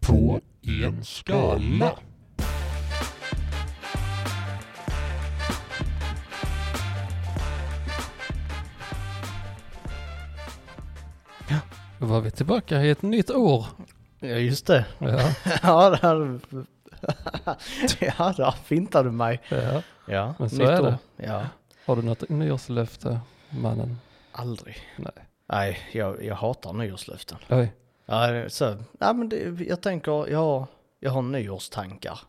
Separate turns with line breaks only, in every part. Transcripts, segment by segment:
på en skala.
Då var vi tillbaka i ett nytt år.
Ja, just det.
Ja,
Ja, där... ja, där fintar du mig.
ja.
Ja,
Men så
nytt
är
år.
det.
Ja,
Har du något nyårslöfte, mannen?
aldrig.
Nej.
Nej, jag, jag hatar nyårslöften.
Oj.
Ja, det är så, ja men det, jag tänker, jag har, jag har nyårstankar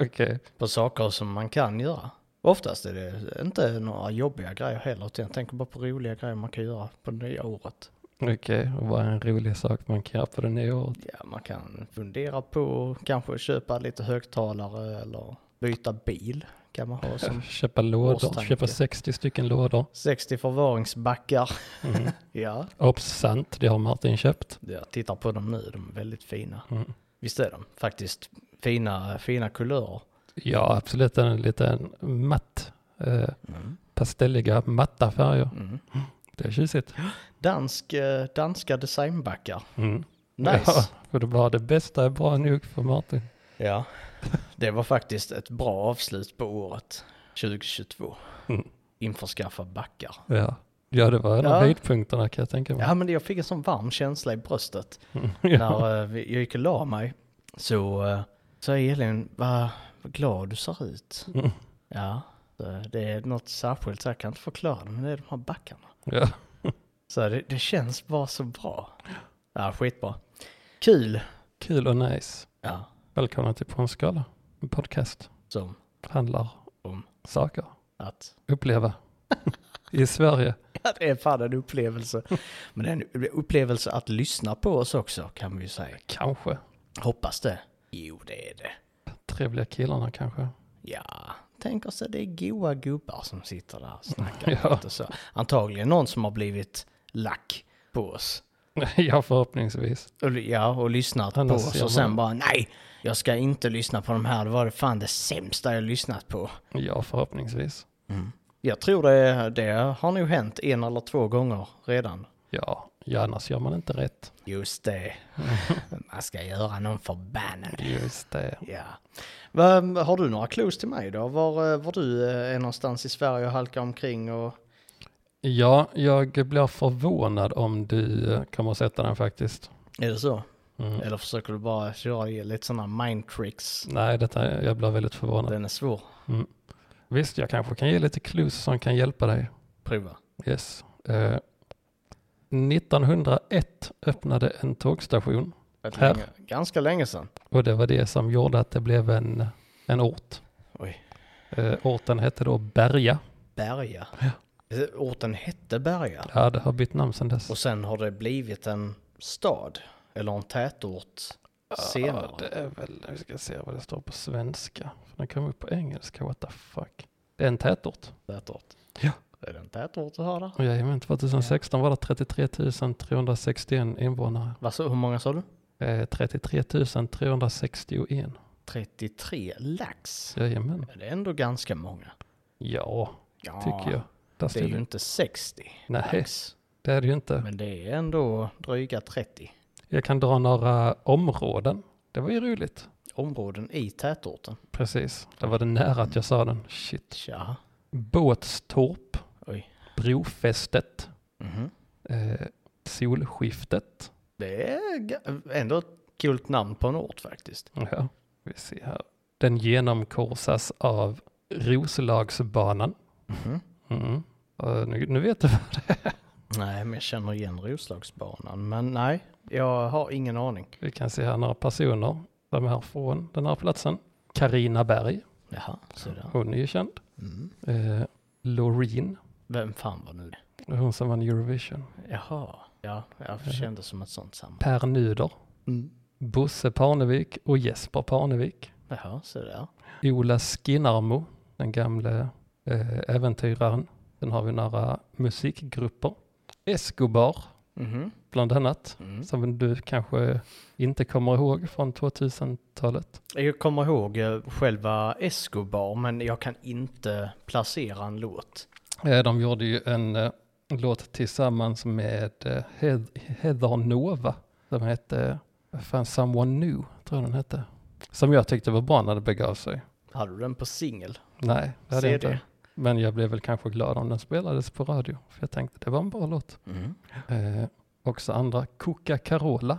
Okej.
på saker som man kan göra. Oftast är det inte några jobbiga grejer heller, utan jag tänker bara på roliga grejer man kan göra på det nya året.
Okej, och vad är en rolig sak man kan göra på det nya året?
Ja, man kan fundera på kanske köpa lite högtalare eller byta bil kan man ha som
Köpa lådor,
Årstanke.
köpa 60 stycken lådor.
60 förvaringsbackar.
Mm.
Ja,
Obsant, det har Martin köpt.
jag tittar på dem nu, de är väldigt fina.
Mm.
Visst är de faktiskt fina, fina kulörer.
Ja, absolut en liten matt, eh, pastelliga, matta färger.
Mm.
Det är tjusigt.
Dansk, eh, danska designbackar.
Mm.
Nice.
Ja, för det var det bästa är bra nog för Martin.
Ja, det var faktiskt ett bra avslut på året 2022.
Mm.
Införskaffa backar.
Ja, ja det var en av
Ja.
höjdpunkterna kan jag tänka mig.
Ja, men jag fick en sån varm känsla i bröstet.
Mm.
När eh, vi- jag gick och la mig så eh, sa Elin, vad vad glad du ser ut.
Mm.
Ja, så det är något särskilt, så jag kan inte förklara det, men det är de här backarna.
Ja.
Så det, det känns bara så bra. Ja, skitbra. Kul.
Kul och nice.
Ja,
Välkomna till På en skala. En podcast
som
handlar
Om.
saker,
att
uppleva i Sverige.
Ja, det är fan en upplevelse. Men det är en upplevelse att lyssna på oss också kan vi ju säga.
Kanske.
Hoppas det. Jo, det är det.
Trevliga killarna kanske.
Ja, tänk oss att det är goa gubbar som sitter där och snackar
Ja.
lite så. Antagligen någon som har blivit lack på oss.
ja, förhoppningsvis.
Och, ja, och lyssnat
Annars
på oss
gör
och sen
man-
bara nej, jag ska inte lyssna på de här. Det var det fan det sämsta jag lyssnat på.
Ja, förhoppningsvis.
Jag tror det, det har nog hänt en eller två gånger redan.
Ja, ja annars gör man inte rätt.
Just det. Man ska göra någon förbannad.
Just det.
Ja. Vad- Har du några clues till mig då? Var, eh, var du eh, är någonstans i Sverige och halkar omkring och...
Ja, jag blir förvånad om du eh, kommer att sätta den faktiskt.
Är det så?
Mm.
Eller försöker du bara köra i lite sådana mind tricks?
Nej, detta, jag blir väldigt förvånad.
Den är svår.
Visst, jag kanske kan ge lite clues som kan hjälpa dig.
Prova.
Yes. Eh, 1901 öppnade en tågstation
Rätt
Här.
länge- Ganska länge sedan.
och det var det som gjorde att det blev en, en ort.
Oj.
Eh, orten hette då Berga.
Berga. Eh, Orten hette Berga.
Ja, det har bytt namn sedan
Och
dess.
sen har det blivit en stad. Eller en tätort. Senare.
Ja, det är väl, vi ska se vad det står på svenska. För den kom upp på engelska, what the fuck. Det är en tätort.
Tätort.
Ja.
Är det en tätort du har där?
Och jajamän, 2016 var det 33 361 invånare.
Vad så, hur många sa du?
Eh, 33 361.
33 lax.
Jajamän.
Det är ändå ganska många.
Ja,
Ja,
tycker jag. Där
Ah, Det är
stod
ju
det.
inte 60
Nej,
lax.
det är det ju inte.
Men det är ändå dryga 30
Jag kan dra några områden. Det var ju roligt.
områden i tätorten.
Precis, det var det nära att jag sa den. Shit.
Tja.
Båtstorp,
Oj. Mhm.
Brofästet, eh, Solskiftet.
Det är ga- ändå ett kul namn på en ort faktiskt.
Ja, vi ser här. Den genomkorsas av Roslagsbanan.
Mhm.
Mm. Och nu, nu vet du vad det är.
Nej, men jag känner igen Roslagsbanan. Men nej, jag har ingen aning.
Vi kan se här några personer. De här från den här platsen. Karina Berg,
Jaha, så där.
hon är ju känd.
Mm.
Eh, Loreen,
Vem fan var nu det?
hon som vann Eurovision.
Jaha, ja, jag kände som ett sånt sammanhang.
Per Nuder.
Mm.
Bosse Parnevik och Jesper Parnevik.
Jaha, så där.
Ola Skinnarmo, den gamle eh, äventyraren. Sen har vi några musikgrupper. Escobar,
Mhm.
bland annat,
Mm.
som du kanske inte kommer ihåg från 2000-talet.
Jag kommer ihåg eh, själva Escobar, men jag kan inte placera en låt.
Eh, de gjorde ju en eh, låt tillsammans med eh, Heath- Heather Nova, som hette vad eh, fan, Someone New, tror jag den hette. Som jag tyckte var bra när det begav sig.
Hade du den på singel?
Nej, det hade jag
CD?
inte. Men jag blev väl kanske glad om den spelades på radio. För jag tänkte det var en bra låt.
Mm.
Eh, också andra, Coca-Carola,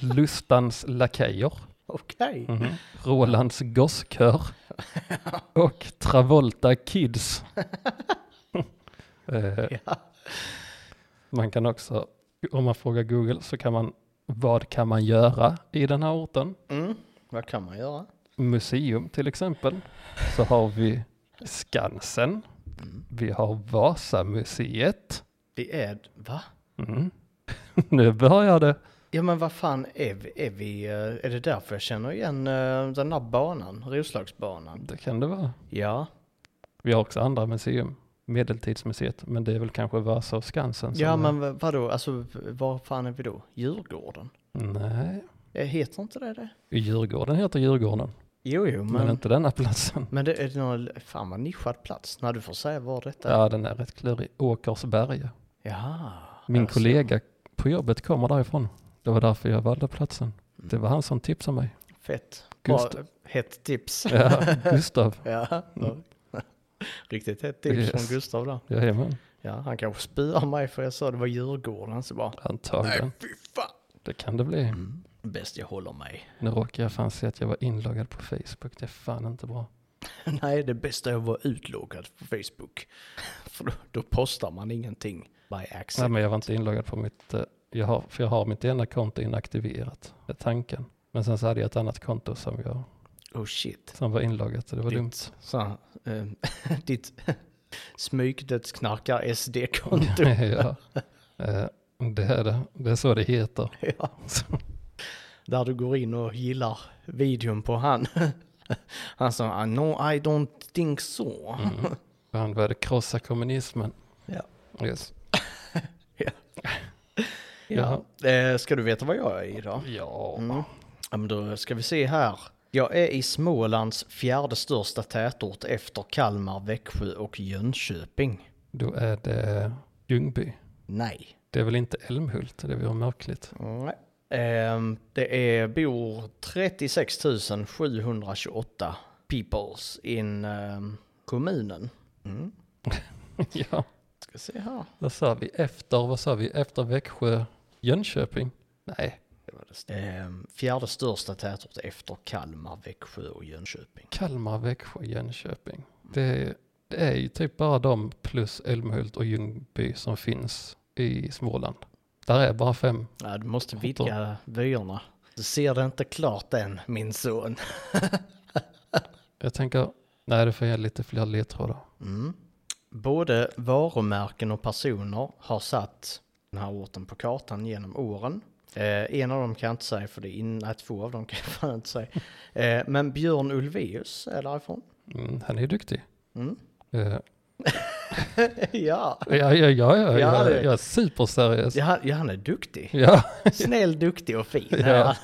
Lustans Lakejer,
Okej.
mhm, Rolands Gosskör och Travolta Kids. eh,
Ja.
man kan också, om man frågar Google så kan man, vad kan man göra i den här orten?
Mm. Vad kan man göra?
Museum till exempel. Så har vi Skansen,
Mm.
vi har Vasamuseet.
Det är... Va? Mm-hmm.
Mm. nu börjar det.
Ja men vad fan är vi? Är, vi, eh, är det därför jag känner igen eh, den där banan? Roslagsbanan?
Det kan det vara.
Ja.
Vi har också andra museum. Medeltidsmuseet, men det är väl kanske Vasa och Skansen som
Ja
är-
men v- vadå, alltså var fan är vi då? Djurgården?
Nej,
Eh, Heter inte det det?
Djurgården heter Djurgården,
Jo jo men...
men
Men,
inte denna platsen.
det är någon, fan vad nischad plats. När du får säga var detta är.
Ja, den är rätt klurig. Åkersberga.
Jaha.
Min
Alltså.
kollega på jobbet kommer därifrån. Det var därför jag valde platsen. Det var han som tipsade mig.
Fett. Bra,
Gustav.
hett tips.
Ja, Gustav.
Ja. Riktigt hett tips
Yes.
från Gustav där.
Jajamän,
Ja, han kanske spyr mig för jag sa det var Djurgården. Så bara,
antagligen.
fy fan.
Det kan det bli.
Bäst jag håller mig.
Nu råkar jag fan se att jag var inloggad på Facebook. Det är fan inte bra.
Nej, det bästa är att vara utloggad på Facebook. För då, då postar man ingenting by
Nej,
accident.
men jag var inte inloggad på mitt, eh, jag har, för jag har mitt ena konto inaktiverat, det är tanken. Men sen så hade jag ett annat konto som, jag,
Oh shit.
som var inloggat så det var
Ditt.
dumt.
Så, eh, ditt smygdödsknarkar SD-konto.
ja. Eh, Det är det, det är så det heter.
ja. Där du går in och gillar videon på han. Han sa, "Ah, no I don't think so.
För Han började krossa kommunismen.
Ja.
Yes.
Ja.
Ja.
Eh, ska du veta vad jag är idag?
Ja.
Mm. Ja, men då ska vi se här. Jag är i Smålands fjärde största tätort efter Kalmar, Växjö och Jönköping.
Då är det Ljungby.
Nej.
Det är väl inte Älmhult, det var märkligt.
Nej. Ehm, det är, bor 36 728 peoples in ehm, kommunen. Mm.
ja,
Ska se här.
vad sa vi efter, vad sa vi efter Växjö, Jönköping? Nej,
Ehm, fjärde största tätort efter Kalmar, Växjö och Jönköping.
Kalmar, Växjö, Jönköping. Det är, det är ju typ bara de plus Älmhult och Ljungby som finns i Småland. Där är bara fem.
Ja, du måste vidga vyerna. Du ser det inte klart än, min son.
Jag tänker, nej du får ge lite fler ledtrådar.
Mm. Både varumärken och personer har satt den här orten på kartan genom åren. Eh, en av dem kan jag inte säga för det är in, nej, två av dem kan jag fan inte säga. Eh, men Björn Ulvaeus är därifrån.
Mm, han är ju duktig.
Mm.
Eh,
ja.
ja, ja, ja, ja, ja,
Ja, det-
jag är superseriös.
Ja, han, ja, han är duktig.
Ja,
Snäll, duktig och fin.
Ja.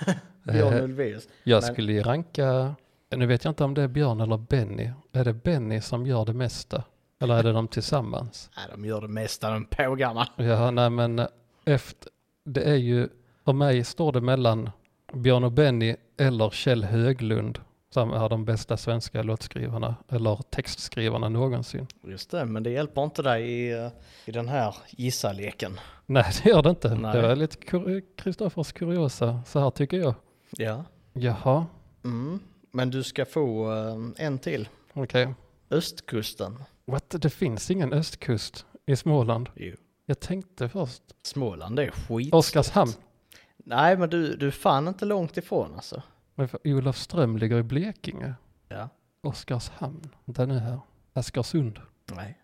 Björn
Eh,
Ulvaeus.
jag
Men-
skulle ju ranka, nu vet jag inte om det är Björn eller Benny. Är det Benny som gör det mesta? Eller är det de tillsammans?
Nej, de gör det mesta de pågarna.
Ja, nej men eh, efter, det är ju, för mig står det mellan Björn och Benny eller Kjell Höglund som är de bästa svenska låtskrivarna eller textskrivarna någonsin.
Just det, men det hjälper inte dig i, eh, i den här gissa-leken.
Nej, det gör det inte.
Nej.
Det var lite kur- Kristoffers kuriosa, så här tycker jag.
Ja.
Jaha,
Mm. Men du ska få eh, en till.
okej.
Östkusten.
What? Det finns ingen östkust i Småland.
Jo.
Jag tänkte först
Småland är skit.
Oskarshamn.
Nej, men du, du är fan inte långt ifrån alltså.
Men för Olofström ligger i Blekinge.
Ja.
Oskarshamn, den är här. Askersund.
Nej.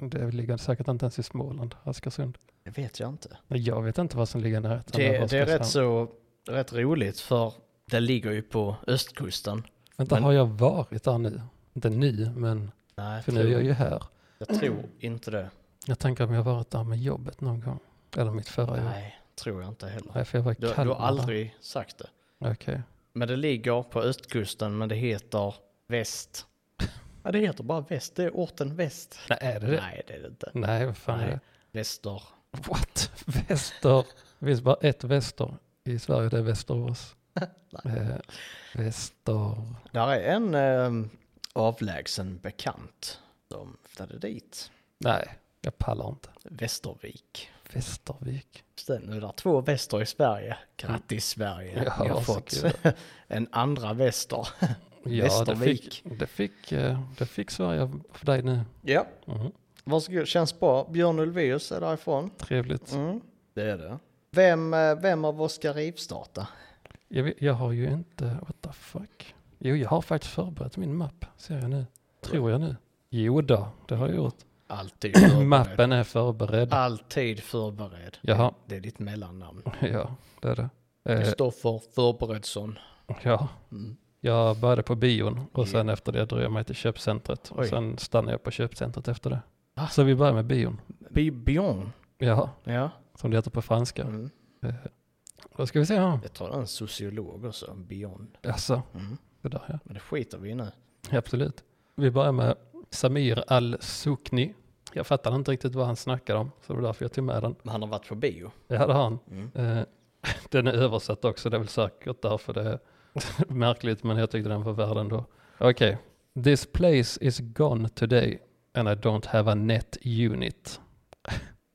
Det ligger säkert inte ens i Småland, Askersund.
Det vet jag inte.
Nej, Jag vet inte vad som ligger i närheten av
Det, det är
Oskarshamn.
rätt så rätt roligt för det ligger ju på östkusten.
Vänta,
men-
har jag varit där nu? Inte nu, men
Nej,
för nu
tror,
är jag ju här.
jag tror inte det.
Jag tänker om jag varit där med jobbet någon gång. Eller mitt förra jobb. Nej.
Nej, tror jag inte heller.
för jag var i
Du,
Kalmar.
du har aldrig sagt det.
Okej.
Men det ligger på östkusten, men det heter väst. Ja, det heter bara väst. Det är orten väst.
Nej, är det det?
Nej, det är det inte.
Nej, vad fan är
Nej.
det?
Väster.
What? Väster? Det finns bara ett väster i Sverige, det är Västerås. Eh, Väster...
Där är en eh, avlägsen bekant som flyttade dit.
Nej, jag pallar inte.
Västervik.
Västervik.
Just det, Nu är det två väster i Sverige. Grattis Sverige,
Ja,
ni har fått
varsågod.
en andra väster.
Ja, det
Västervik.
fick, det, fick, eh, det fick Sverige för dig nu.
Ja,
Mhm.
varsågod. Känns bra. Björn Ulvaeus är därifrån.
Trevligt.
Mm. Det är det. Vem, eh, vem av oss ska rivstarta?
Jag, vet- jag har ju inte, what the fuck. Jo, jag har faktiskt förberett min mapp, ser jag nu. Tror jag nu. Jo då, det har jag gjort.
Alltid förberedd.
Mappen är förberedd.
Alltid förberedd.
Jaha,
Det är ditt mellannamn.
ja, det är det. Eh,
Kristoffer Förberedsson.
ja,
Mm.
jag började på bion och sen efter det drog jag mig till köpcentret. Och
Oj.
sen stannade jag på köpcentret efter det.
Va?
Så vi börjar med bion.
Bi- Björn.
Ja,
Ja.
som det heter på franska.
Mm.
Då ska vi se här.
Jag tror det är en sociolog också, Björn.
Alltså,
Mm.
det där ja.
Men det skiter vi i nu.
Absolut. Vi börjar med Samir Al-Sukni. Jag fattade inte riktigt vad han snackade om, så det var därför jag tog med den.
Men han har varit på bio.
Det hade han.
Mm.
Eh, Den är översatt också, det är väl säkert därför det är märkligt, men jag tyckte den var värd ändå. Okej. This place is gone today and I don't have a net unit.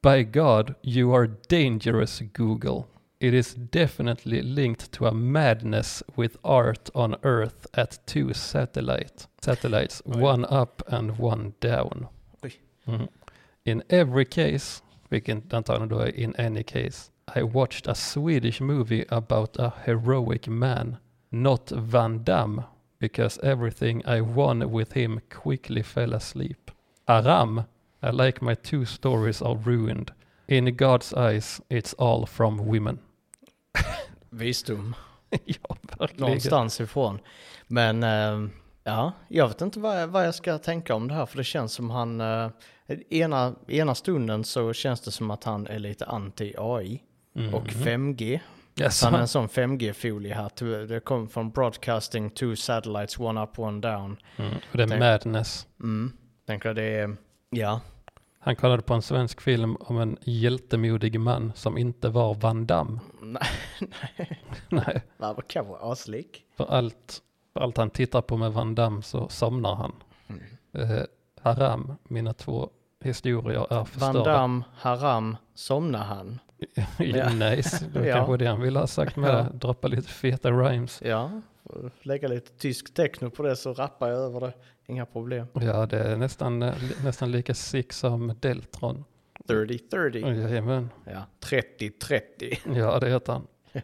By God, you are dangerous, Google. It is definitely linked to a madness with art on Earth at two satellite satellites,
Oj.
one up and one down.
Oj.
Mm. In every case, vilket antagligen då är in any case, I watched a Swedish movie about a heroic man, not Van Damme, because everything I won with him quickly fell asleep. Aram, I like my two stories are ruined. In God's eyes, it's all from women.
Visdom.
ja, verkligen.
Någonstans ifrån. Men eh, ja, jag vet inte vad jag, vad jag ska tänka om det här. För det känns som han... eh, ena, ena stunden så känns det som att han är lite anti-AI.
Mhm.
Och alltså. 5G.
Jaså?
Han är en sån 5G-foliehatt. Det kom från broadcasting, two satellites, one up, one down.
Mm. Och det är
Tänk-
madness.
Mm. Tänker jag det är, ja,
Han kollade på en svensk film om en hjältemodig man som inte var Van Damme.
nej,
Nej,
va, vad kan vara aslik?
för allt, för allt han tittar på med Van Damme så somnar han. Eh, haram, mina två historier är förstörda.
Van Damme, Haram, somnar han? Ja.
nice, det var
Ja.
kanske det han ville ha sagt med
Ja.
det. Droppa lite feta rhymes.
Ja, får lägga lite tysk techno på det så rappar jag över det. Inga problem.
Ja, det är nästan, eh, li- nästan lika sick som Deltron.
30-30.
Jajamän.
Ja, 30-30.
Ja, det heter han.
Ja.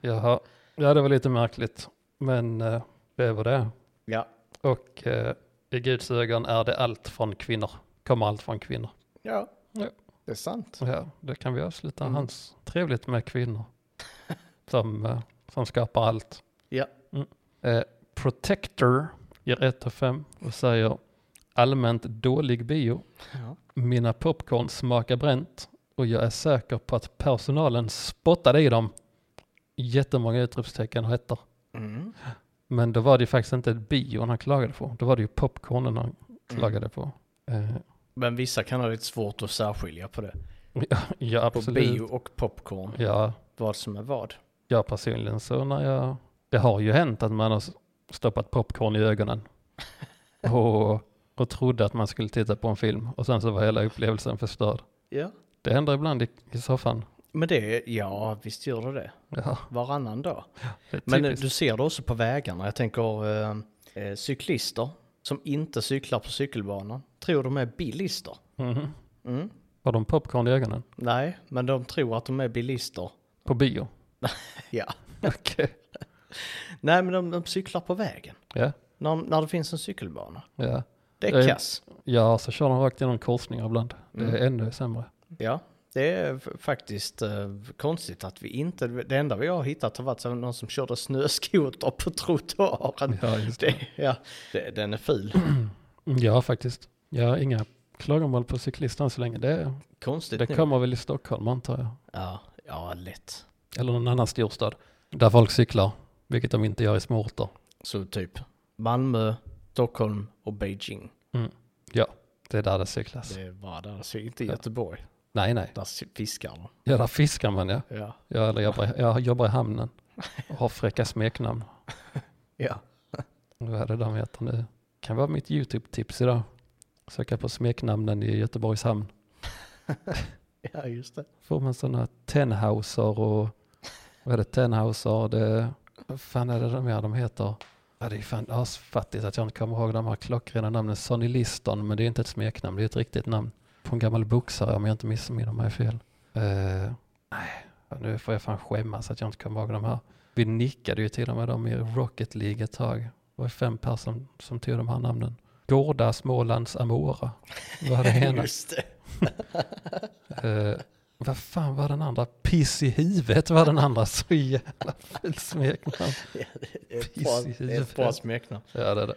Jaha. Ja, det var lite märkligt. Men eh, det var det.
Ja.
Och eh, i Guds ögon är det allt från kvinnor. Kommer allt från kvinnor.
ja,
Ja.
det är sant.
Ja, det kan vi avsluta
Mm.
hans. Trevligt med kvinnor. som, eh, som skapar allt.
Ja.
Mm. Eh, Protector ger 1 av 5 och säger allmänt dålig bio.
Ja.
Mina popcorn smakar bränt och jag är säker på att personalen spottade i dem. Jättemånga utropstecken och ettor.
Mm.
Men då var det ju faktiskt inte bion han klagade på. Då var det ju popcornen
Mm.
han klagade på. Eh,
Men vissa kan ha lite svårt att särskilja på det.
ja,
På
absolut.
bio och popcorn.
Ja,
Vad som är vad.
jag personligen så när jag... Det har ju hänt att man har s- stoppat popcorn i ögonen. och, och trodde att man skulle titta på en film. Och sen så var hela upplevelsen förstörd.
Ja.
Det händer ibland i, i soffan.
Men det, är- ja visst gör det det.
Ja,
Varannan dag.
det är
Men eh,
typiskt.
du ser det också på vägarna. Jag tänker eh, eh, cyklister som inte cyklar på cykelbanan. Tror de är bilister.
Mhm.
Mm.
Har de popcorn i ögonen?
Nej, men de tror att de är bilister.
På bio?
Ja.
Okej.
Nej, men de, de cyklar på vägen.
Ja,
När, när det finns en cykelbana.
ja.
Det
Eh.
är kass.
Ja, så kör de rakt genom korsningar ibland. Det är ännu sämre.
Ja, det är f- faktiskt eh, konstigt att vi inte... Det enda vi har hittat har varit så någon som körde snöskoter på trottoaren.
Ja, just det.
Det, ja, det, den är ful.
Ja, faktiskt. Jag har inga klagomål på cyklister än så länge. Det,
Konstigt
det
nog.
kommer väl i Stockholm antar jag.
Ja, ja, lätt.
Eller någon annan storstad. Där folk cyklar, vilket de inte gör i små orter.
Så typ Malmö, Stockholm och Beijing.
Det är där det cyklas.
Det är bara där, så inte
Ja.
Göteborg.
Nej, nej.
Där fiskar de.
Ja, där fiskar man ja.
Ja.
Jag, eller jobbar, jag jobbar i hamnen. och har fräcka smeknamn.
Ja.
Vad är det de heter nu? Kan vara mitt YouTube-tips idag. Söka på smeknamnen i Göteborgs hamn.
ja, just det.
Får man sådana tenhauser och vad är det tenhauser? Det, vad fan är det de här de heter? Ja, det är fan asfattigt att jag inte kommer ihåg de här klockrena namnen. Sonny Liston, men det är inte ett smeknamn, det är ett riktigt namn. På en gammal boxare om jag inte missminner mig fel. Eh, nej, nu får jag fan skämmas att jag inte kommer ihåg de här. Vi nickade ju till och med dem i Rocket League ett tag. Det var ju fem personer som, som tog de här namnen. Gårda Smålands Amora var det ena.
Just det.
Eh, vad fan var den andra? Piss i huvudet var den andra. Så jävla fult smeknamn.
Ja, det är ett
Piss
bra,
i
det är ett bra
huvudet.
smeknamn.
Ja, det är det.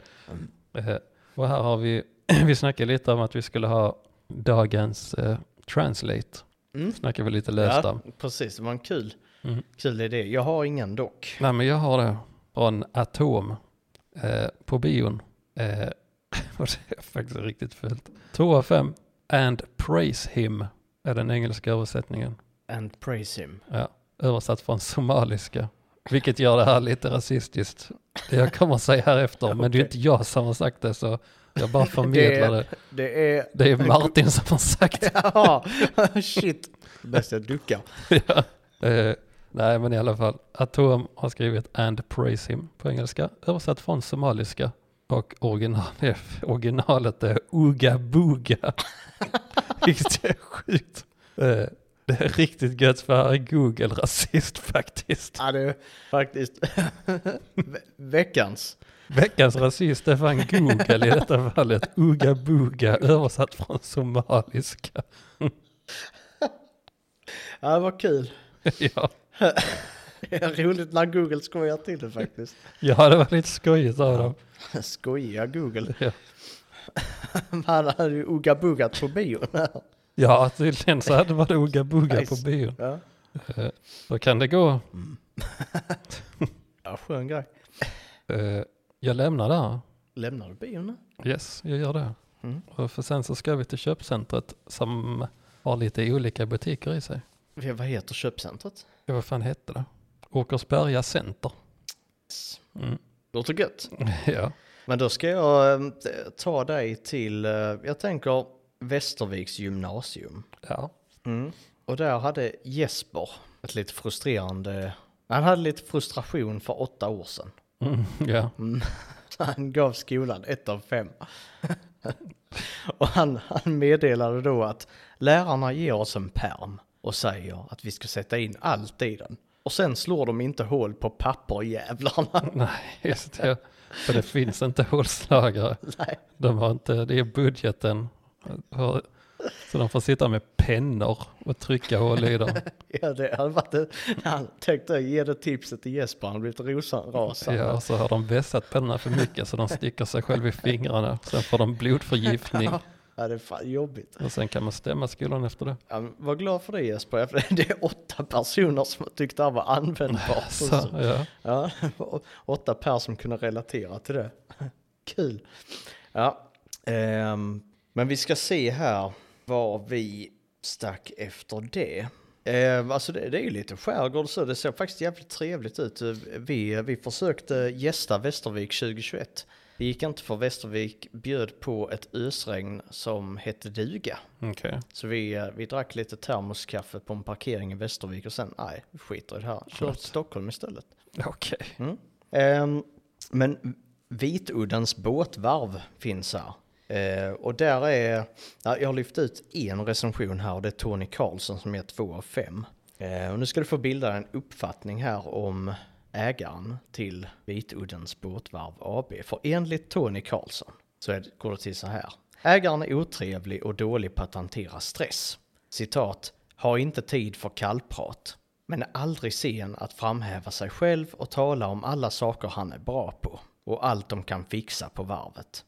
Eh, och här har vi, vi snackade lite om att vi skulle ha dagens eh, translate.
Mm.
Snackar vi lite löst
Ja.
om.
Precis, det var en kul,
Mm.
kul idé. Jag har ingen dock.
Nej, men jag har det från Atom eh, på bion. Eh, och det är faktiskt riktigt fult. 2 av 5. And praise him är den engelska översättningen.
And praise him.
översatt från somaliska. Vilket gör det här lite rasistiskt. Det jag kommer att säga här efter, men det är inte jag som har sagt det så jag bara förmedlar det.
Det är...
Det är Martin som har sagt det.
Ja, shit. Bäst jag duckar.
Ja. Eh, nej, men i alla fall. Atom har skrivit and praise him på engelska, översatt från somaliska. Och original, originalet är Uga Buga. Vilket är sjukt. Eh, det är riktigt gött för här är Google rasist faktiskt.
Ja, det är faktiskt ve- veckans.
Veckans rasist är fan Google i detta fallet. Uga Buga översatt från somaliska.
Ja, det var kul.
ja.
Det är roligt när Google skojar till det faktiskt.
ja, det var lite skojigt av dem.
Skojiga Google.
Ja.
Man hade ju Ugga Buggat på bion.
Ja, tydligen så hade var det Uga Buga på
Nice.
bion.
Ja,
Eh, Så kan det gå.
ja skön grej.
Eh, Jag lämnar där.
Lämnar du bion nu?
Yes, jag gör det.
Mm.
Och för sen så ska vi till köpcentret som har lite olika butiker i sig.
Vad- Vad heter köpcentret?
Ja, vad fan hette det? Åkersberga Center. Mm.
Låter gött.
Ja.
Men då ska jag eh, ta dig till, eh, jag tänker Västerviks gymnasium.
ja.
Och där hade Jesper ett lite frustrerande, han hade lite frustration för åtta år sedan.
Mm, ja.
Så han gav skolan ett av fem. och han, han meddelade då att lärarna ger oss en perm och säger att vi ska sätta in allt i den. Och sen slår de inte hål på papper, jävlarna.
Nej, just det. För det finns inte hålslagare.
Nej.
De har inte, det är budgeten. Så de får sitta med pennor och trycka hål i dem.
Ja, det hade varit det. Han tänkte ge det tipset till Jesper, han hade blivit rosenrasande.
Ja, och så har de vässat pennorna för mycket så de sticker sig själv i fingrarna. Sen får de blodförgiftning.
Ja, det är fan jobbigt.
Och sen kan man stämma skolan efter det.
Ja, men var glad för det Jesper, för det är åtta personer som tyckte det här var användbart. och
Så,
så.
ja.
Ja, det var åtta personer som kunde relatera till det. Kul. Ja, ehm, men vi ska se här var vi stack efter det. Ehm, alltså det, det är ju lite skärgård så, det ser faktiskt jävligt trevligt ut. Vi, vi försökte gästa Västervik 2021. Det gick inte för Västervik bjöd på ett ösregn som hette duga.
Okej.
Så vi, eh, vi drack lite termoskaffe på en parkering i Västervik och sen, nej, vi skiter i det här. Kör till Stockholm istället.
Okej.
Ehm, men Vituddens båtvarv finns här. Eh, och där är, ja, jag har lyft ut en recension här och det är Tony Karlsson som ger två av fem. Eh, och nu ska du få bilda en uppfattning här om ägaren till Vituddens båtvarv AB. För enligt Tony Karlsson så är, det- går det till så här. Ägaren är otrevlig och dålig på att hantera stress. Citat, har inte tid för kallprat men är aldrig sen att framhäva sig själv och tala om alla saker han är bra på och allt de kan fixa på varvet.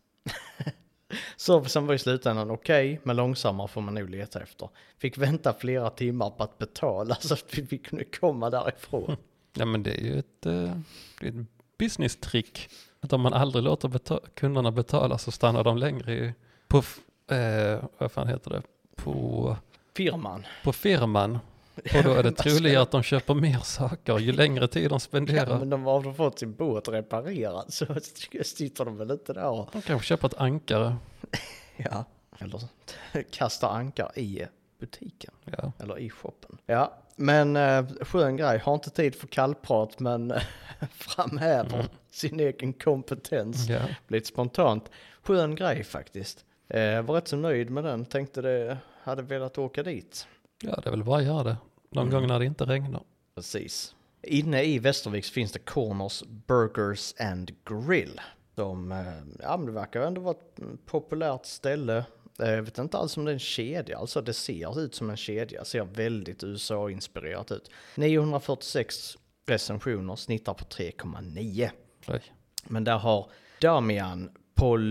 Servicen var i slutändan okej, men långsammare får man nog leta efter. Fick vänta flera timmar på att betala så att vi fick nu komma därifrån.
Ja, men det är ju ett, eh, det är ett business-trick. Att om man aldrig låter beta- kunderna betala så stannar de längre i, på, f- eh, vad fan heter det, på
Firman.
på firman Och då är det troligare att de köper mer saker ju längre tid de
Ja,
spenderar.
men de har de fått sin båt reparerad så sitter de väl inte där och
De kanske köper ett ankare.
ja. eller kastar ankar i butiken
Ja.
eller i shoppen. Ja, men eh, skön grej. Har inte tid för kallprat men eh, framhäver sin egen kompetens.
Ja.
Lite spontant. Skön grej faktiskt. Eh, var rätt så nöjd med den. Tänkte det hade velat åka dit.
ja, det är väl bara att göra det. Någon
Mm.
gång när det inte regnar.
Precis. Inne i Västervik så finns det Corners Burgers and Grill. De, eh, ja, men det verkar ändå vara ett mm, populärt ställe. Eh, Jag vet inte alls om det är en kedja, alltså det ser ut som en kedja, ser väldigt USA-inspirerat ut. 946 recensioner, snittar på 3,9.
Plöj.
Men där har Damian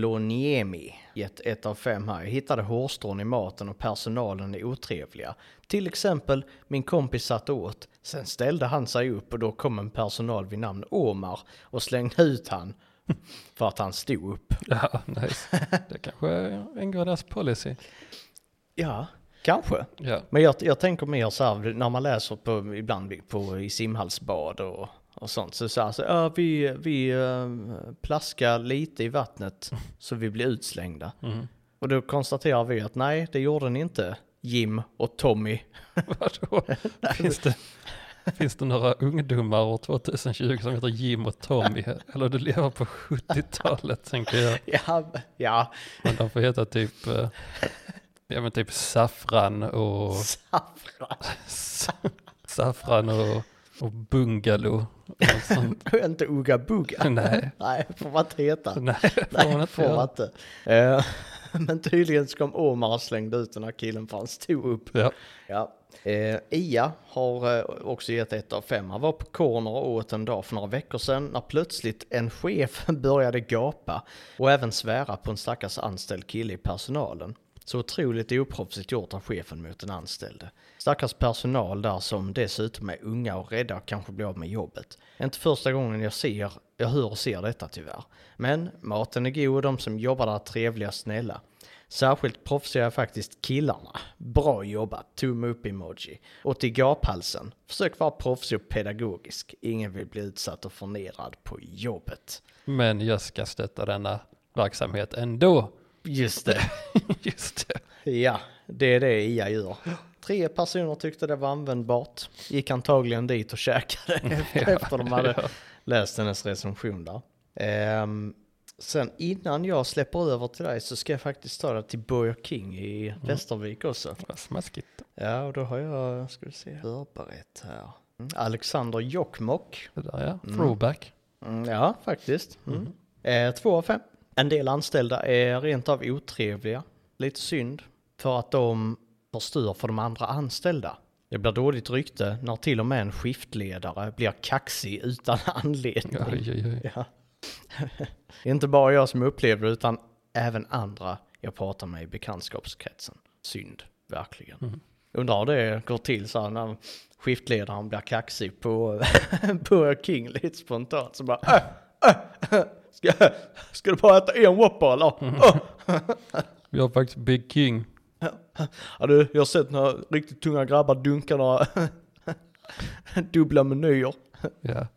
Poloniemi gett ett av fem här. Jag hittade hårstrån i maten och personalen är otrevliga. Till exempel, min kompis satt åt. Sen ställde han sig upp och då kom en personal vid namn Omar och slängde ut han för att han stod upp.
Ja, nice. Det kanske ingår i deras policy.
Ja, kanske.
Ja.
Men jag, jag tänker mer så här, när man läser på, ibland på, i simhallsbad och, och sånt, så så här, så, ja, vi, vi eh, plaskar lite i vattnet så vi blir utslängda.
Mm.
Och då konstaterar vi att nej, det gjorde ni inte, Jim och Tommy.
Vadå? Finns det, finns det några ungdomar år 2020 som heter Jim och Tommy? Eller du lever på 70-talet tänker jag.
Ja, ja,
Men de får heta typ, eh, ja men typ Saffran och,
saffran
Saffran och, och Bungalow. Och sånt.
och inte Uga Buga.
Nej,
Nej, får man inte heta.
nej, får man
Nej,
inte
får man
göra.
inte. Eh, Men tydligen så kom Omar och slängde ut den här killen för han stod upp.
Ja,
Ja. Eh, Ia har eh, också gett ett av fem. Han var på corner och åt en dag för några veckor sedan när plötsligt en chef började gapa och även svära på en stackars anställd kille i personalen. Så otroligt oproffsigt gjort av chefen mot den anställde. Stackars personal där som dessutom är unga och rädda och kanske blir av med jobbet. Inte första gången jag ser, jag hör och ser detta tyvärr. Men maten är god och de som jobbar där är trevliga och snälla. Särskilt proffsiga är faktiskt killarna. Bra jobbat, tumme upp-emoji. Och till gaphalsen, försök vara proffsig och pedagogisk. Ingen vill bli utsatt och förnedrad på jobbet.
men jag ska stötta denna verksamhet ändå.
Just det.
Just det.
Ja, det är det Ia gör. Tre personer tyckte det var användbart. Gick antagligen dit och käkade efter efter de hade läst hennes recension där. Ehm, sen innan jag släpper över till dig så ska jag faktiskt ta dig till Burger King i Västervik också.
Vad smaskigt.
Ja, och då har jag, ska vi se, förberett här. Mm. Alexander Jokkmokk.
Det där ja, throwback.
Mm, ja, faktiskt. Mm. Eh, två av fem. En del anställda är rent av otrevliga. Lite synd. För att de förstör för de andra anställda. Det blir dåligt rykte när till och med en skiftledare blir kaxig utan anledning.
Oj, oj, oj.
Ja. Det är inte bara jag som upplever det utan även andra jag pratar med i bekantskapskretsen. Synd, verkligen.
Mm.
Undrar hur det går till så här när skiftledaren blir kaxig på Burger King lite spontant. Så bara, äh, äh, äh, ska, ska du bara äta en Whopper eller?
Mm.
Äh." Åh,
Vi har faktiskt Big King.
Ja, du, jag har sett några riktigt tunga grabbar dunka några dubbla menyer.
Ja.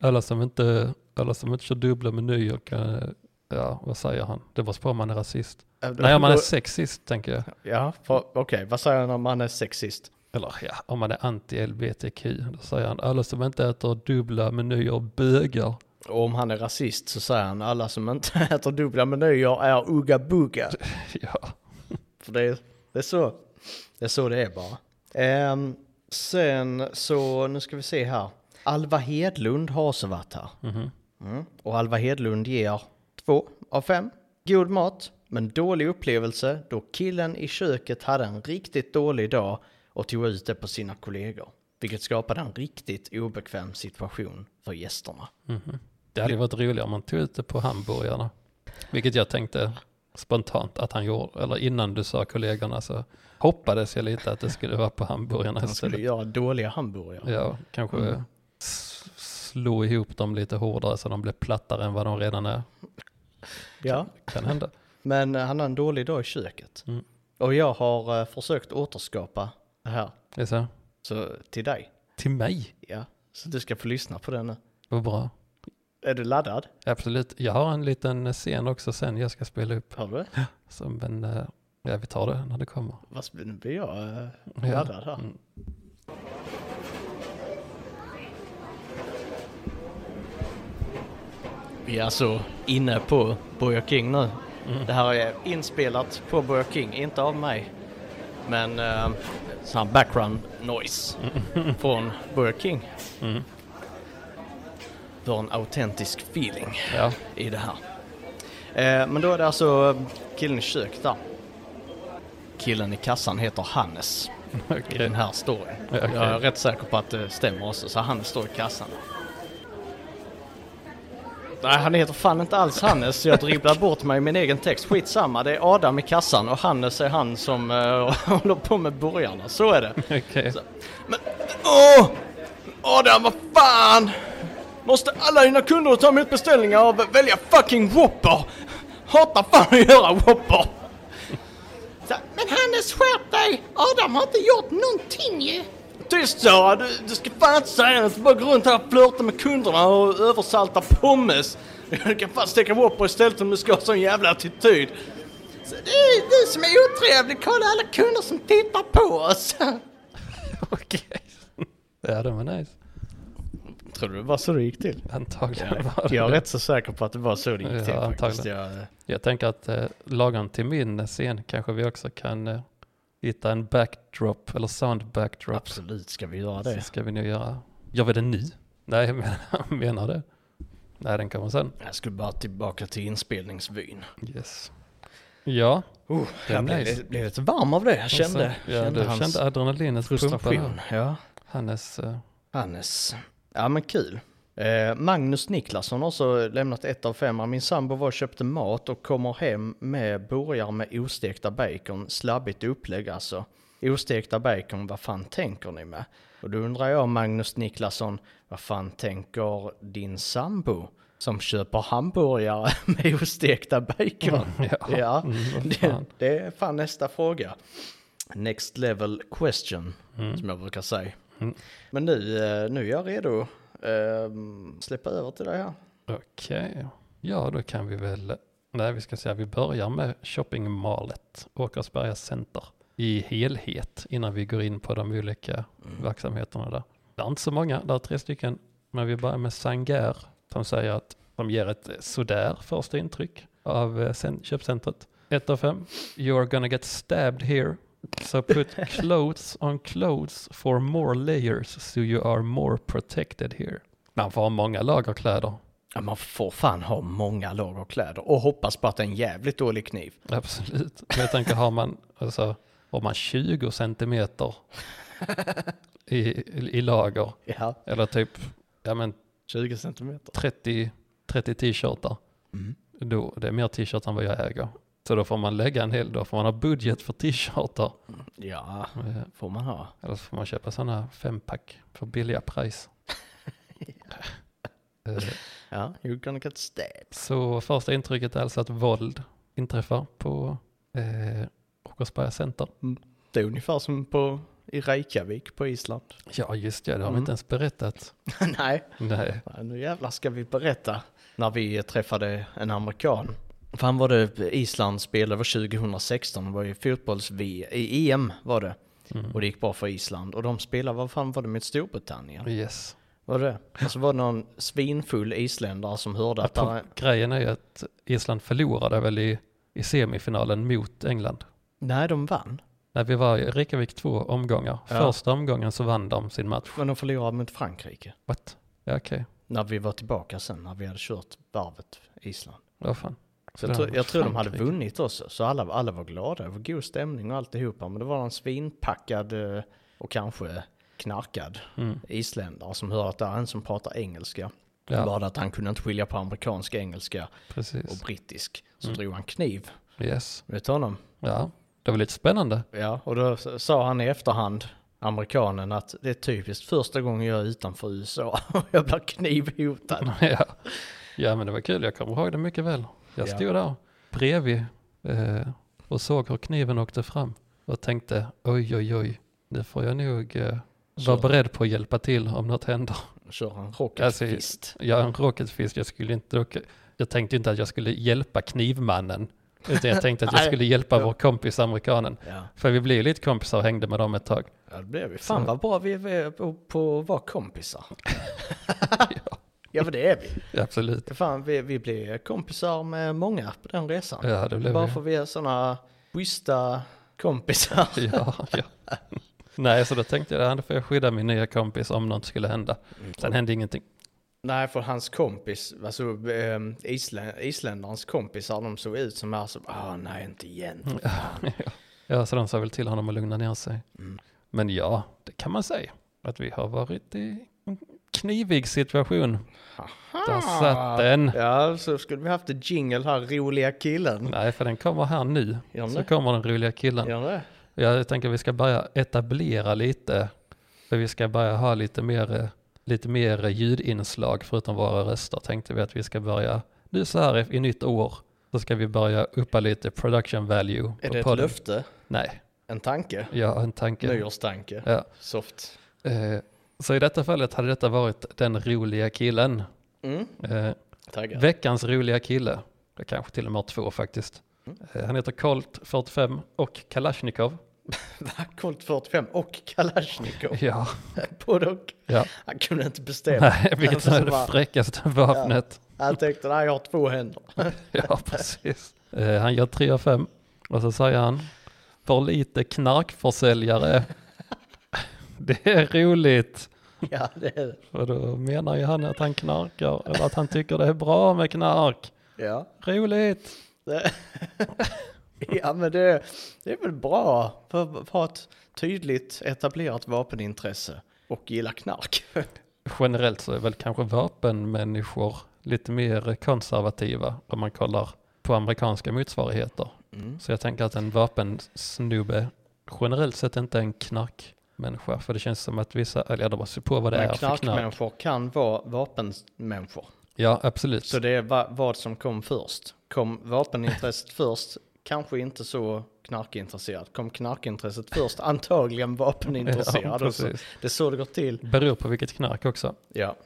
Alla som inte, alla som inte kör dubbla menyer kan, eh, ja vad säger han? Det beror på om man är rasist.
Äh,
Nej, om man är sexist tänker jag.
Ja, för- okej, vad säger han om man är sexist?
Eller ja, om man är anti-LBTQ. Då säger han, alla som inte äter dubbla menyer bögar.
Och om han är rasist så säger han alla som inte äter dubbla menyer är ugga bugga.
Ja,
För det, det, är så, det är så det är bara. Ehm, sen så, nu ska vi se här. Alva Hedlund har också varit här. Mm. Och Alva Hedlund ger två av fem. God mat, men dålig upplevelse då killen i köket hade en riktigt dålig dag och tog ut det på sina kollegor. Vilket skapade en riktigt obekväm situation för gästerna.
det hade ju varit roligare om man tog ut det på hamburgarna. Vilket jag tänkte spontant att han gjorde. Eller innan du sa kollegorna så hoppades jag lite att det skulle vara på hamburgarna
Han skulle Mm.
istället.
göra dåliga hamburgare.
Ja, kanske s- slå ihop dem lite hårdare så de blir plattare än vad de redan är.
Ja.
Kan hända.
Men eh, han har en dålig dag i köket.
Mm.
Och jag har eh, försökt återskapa det här.
Det är så.
Så till dig.
Till mig?
Ja, så du ska få lyssna på den nu.
Vad bra.
Är du laddad?
Absolut. Jag har en liten scen också sen jag ska spela upp.
Har du det?
Som en, eh, ja, vi tar det när det kommer.
Vad sp- Nu blir jag eh,
Ja.
laddad här.
Mm.
Vi är alltså inne på Burger King nu.
Mm.
Det här är inspelat på Burger King, inte av mig. Men eh, sån här background noise
Mm.
från Burger King. Du har en autentisk feeling
Ja.
i det här. Eh, men då är det alltså killen i köket där. Killen i kassan heter Hannes i den här storyn.
Ja, okej.
Jag är rätt säker på att det stämmer också, så Hannes står i kassan. Nej, han heter fan inte alls Hannes, så jag dribblar bort mig i min egen text. Skitsamma, det är Adam i kassan och Hannes är han som eh, håller på med burgarna. Så är det.
Okej.
Men, åh! Adam, vad fan! Måste alla dina kunder ta emot beställningar och välja fucking Whopper? Hatar fan att göra Whopper! Så, men Hannes, skärp dig! Adam har inte gjort någonting ju! Tyst Sara, du, du ska fan inte säga något. Du bara gå runt här och flörta med kunderna och översalta pommes. Du kan fan steka Whopper istället om du ska ha sån jävla attityd. Så det är du som är otrevlig. Kolla alla kunder som tittar på oss.
Okej. Ja, den var nice.
Tror du det var så det gick till?
Antagligen var det
Jag är
det.
rätt så säker på att det var så det gick
Ja,
till faktiskt.
antagligen.
Jag,
Jag tänker att eh, lagom till min scen kanske vi också kan eh, hitta en backdrop eller sound backdrop.
absolut ska vi göra
Så
det.
ska vi nu göra. Gör vi den nu? Nej, jag menar, menar det. Nej, den kommer sen.
Jag skulle bara tillbaka till inspelningsvyn.
Yes. Ja,
Oh,
Det är
jag blev,
nice.
blev, lite varm av det. Jag kände,
och sen- ja,
kände
du
hans
kände adrenalinet pumpa.
frustration.
där.
Ja.
Hannes, eh,
Hannes. Ja men kul. Eh, Magnus Niklasson har också lämnat ett av fem. Min sambo var och köpte mat och kommer hem med burgare med ostekta bacon. Slabbigt upplägg alltså. Ostekta bacon, vad fan tänker ni med? Och då undrar jag Magnus Niklasson, vad fan tänker din sambo? Som köper hamburgare med ostekta bacon.
ja.
Ja,
Mm, vad
det,
fan.
det är fan nästa fråga. Next level question, som jag brukar säga. Men nu, eh, nu är jag redo. Ehm, Släppa över till dig här.
Okej. Ja, då kan vi väl... Nej, vi ska säga vi börjar med shoppingmallet, Åkersberga Center, i helhet innan vi går in på de olika verksamheterna där. Det är inte så många, det är tre stycken, men vi börjar med Sangair som säger att de ger ett eh, sådär första intryck av eh, cen- köpcentret. 1 av 5. You're gonna get stabbed here. So put clothes on clothes for more layers so you are more protected here. Man får ha många lager kläder.
Ja, man får fan ha många lager kläder och hoppas på att det är en jävligt dålig kniv.
Absolut. Men jag tänker, har man, alltså, har man 20 centimeter i, i lager,
Ja,
eller typ ja, men
20 centimeter.
30, 30 t-shirtar,
Mm.
då, det är mer t-shirtar än vad jag äger. Så då får man lägga en hel, då får man ha budget för t-shirtar.
Ja,
Eh,
får man ha.
Eller så får man köpa sådana fempack för billiga pris. Eh,
Ja, you're gonna get stabbed.
Så första intrycket är alltså att våld inträffar på eh, Åkersberga Center.
Det är ungefär som på, i Reykjavik på Island.
Ja, just det, det har vi
Mm.
inte ens berättat.
Nej,
Nej,
Ja, Nu jävlar ska vi berätta när vi träffade en amerikan. Fan var det Island spelade var 2016, det var ju fotbolls i EM var det. Och det gick bra för Island. Och de spelade, vad fan var det med Storbritannien?
yes.
Var det Och så var det någon svinfull isländare som hörde att
Jag tror,
där,
Grejen är ju att Island förlorade väl i, i semifinalen mot England.
nej de vann.
När vi var i Reykjavik två omgångar.
Ja.
Första omgången så vann de sin match.
Men de förlorade mot Frankrike.
What? Ja, okej.
När vi var tillbaka sen, när vi hade kört varvet Island.
Vad fan. Så
Jag,
det
tror-
var
jag tror de hade
Frankrike.
vunnit också, så alla, alla var glada. Det var god stämning och alltihopa. Men det var någon svinpackad eh, och kanske knarkad
Mm.
isländare som hörde att det är en som pratar engelska.
Ja.
Bara att han kunde inte skilja på amerikansk engelska och
Precis.
brittisk. Så drog han kniv
Yes.
mot honom.
Ja, det var lite spännande.
Ja, och då s- sa han i efterhand, amerikanen, att det är typiskt första gången jag är utanför USA och jag blir knivhotad.
ja. ja, men det var kul. Jag kommer ihåg det mycket väl. Jag
Ja.
stod där bredvid eh, och såg hur kniven åkte fram och tänkte oj, oj, oj, nu får jag nog eh, Var
Kör,
beredd på att hjälpa till om något händer.
kör en rocket
Alltså,
fist.
Jag är en rocketfisk, jag skulle inte åka. Jag tänkte inte att jag skulle hjälpa knivmannen. Utan jag tänkte att jag
Nej.
skulle hjälpa vår kompis amerikanen.
Ja.
För vi blev ju lite kompisar och hängde med dem ett tag.
ja, det blev vi. Fan vad bra vi är på, på att vara kompisar. ja, men det är vi.
Absolut.
Fan, vi, vi blev kompisar med många på den resan.
Ja, det blev
Bara
vi.
för vi är sådana schyssta kompisar.
Ja, ja. Nej, så då tänkte jag att får jag skydda min nya kompis om något skulle hända.
Mm.
Sen hände ingenting.
Nej, för hans kompis, alltså ehm, islä- isländarens kompisar, de såg ut som här som, ah nej inte igen.
Mm. Ja, så de sa väl till honom att lugna ner sig.
Mm.
Men ja, det kan man säga. Att vi har varit i en knivig situation. Där satt den.
Ja, så skulle vi haft en jingle här, roliga killen.
Nej, för den kommer här nu.
Gör den
Så
det?
kommer den roliga killen.
Gör det?
Jag tänker vi ska börja etablera lite. För vi ska börja ha lite mer, eh, lite mer ljudinslag förutom våra röster. Tänkte vi att vi ska börja, nu så här i- i nytt år, så ska vi börja uppa lite production value.
Är
på
det ett
podden.
löfte?
Nej,
En tanke?
jag har en tanke.
Nyårstanke?
Ja.
Soft.
Eh, så i detta fallet hade detta varit den roliga killen.
Mm,
Eh,
taggad.
veckans roliga kille. Det kanske till och med har två faktiskt.
Mm.
Eh, han heter Colt 45 och Kalashnikov.
Va? Colt 45 och Kalashnikov.
Ja,
Både och.
ja.
Han kunde inte bestämma.
Nej, vilket
Alltså,
är
så
det
bara-
fräckaste vapnet.
Han tänkte, nej jag har två händer.
Ja, precis. Eh, han gör 3 av 5 och så säger han för lite knarkförsäljare. Det är roligt.
Ja, det är
Och då menar ju han att han knarkar eller att han tycker det är bra med knark.
Ja.
Roligt.
Det- ja, men det, det är väl bra för att ha ett tydligt etablerat vapenintresse och gilla knark.
Generellt så är väl kanske vapenmänniskor lite mer konservativa om man kollar på amerikanska motsvarigheter. Så jag tänker att en vapensnubbe generellt sett inte är en knarkmänniska. För det känns som att vissa, eller ja, det måste ju på vad det är
Men
för knark.
knarkmänniskor kan vara vapenmänniskor.
Ja, absolut.
Så det är va, vad som kom först. Kom vapenintresset först, kanske inte så knarkintresserad. Kom knarkintresset först, antagligen
Ja,
vapenintresserad. också.
precis.
det är så det går till.
Beror på vilket knark också.
Ja,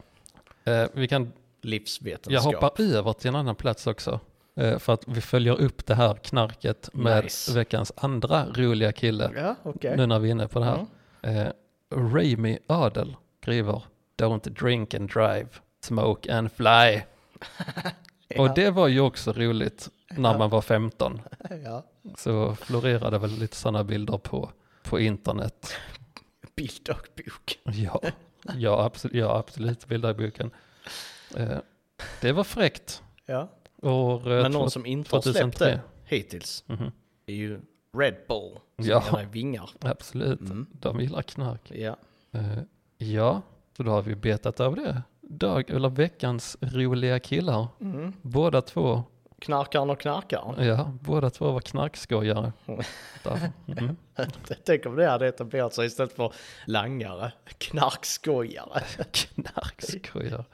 Eh, vi kan,
livsvetenskap.
jag hoppar över till en annan plats också. Eh, för att vi följer upp det här knarket med
Nice.
veckans andra roliga kille.
Ja, okej.
Nu när vi är inne på det här. Eh, Rami Adel skriver Don't drink and drive, smoke and fly. Och det var ju också roligt när man var 15.
Ja.
Så florerade väl lite sådana bilder på, på internet.
Bild och bok.
Ja, ja, absolut, ja, absolut bilder i boken. Eh, det var fräckt.
Ja.
År, eh,
Men någon
två-
som inte har släppt
2003.
det hittills
Mhm.
är ju Red Bull. Som
Ja.
ja. vingar.
Absolut,
Mm.
de gillar knark.
Ja.
Eh, ja, så då har vi betat av det. Dag, eller veckans roliga killar.
Mm.
Båda två,
Knarkaren och knarkaren.
ja, båda två var knarkskojare. Där. Mm.
Tänk om det hade etablerat sig istället för langare, knarkskojare.
Knarkskojare.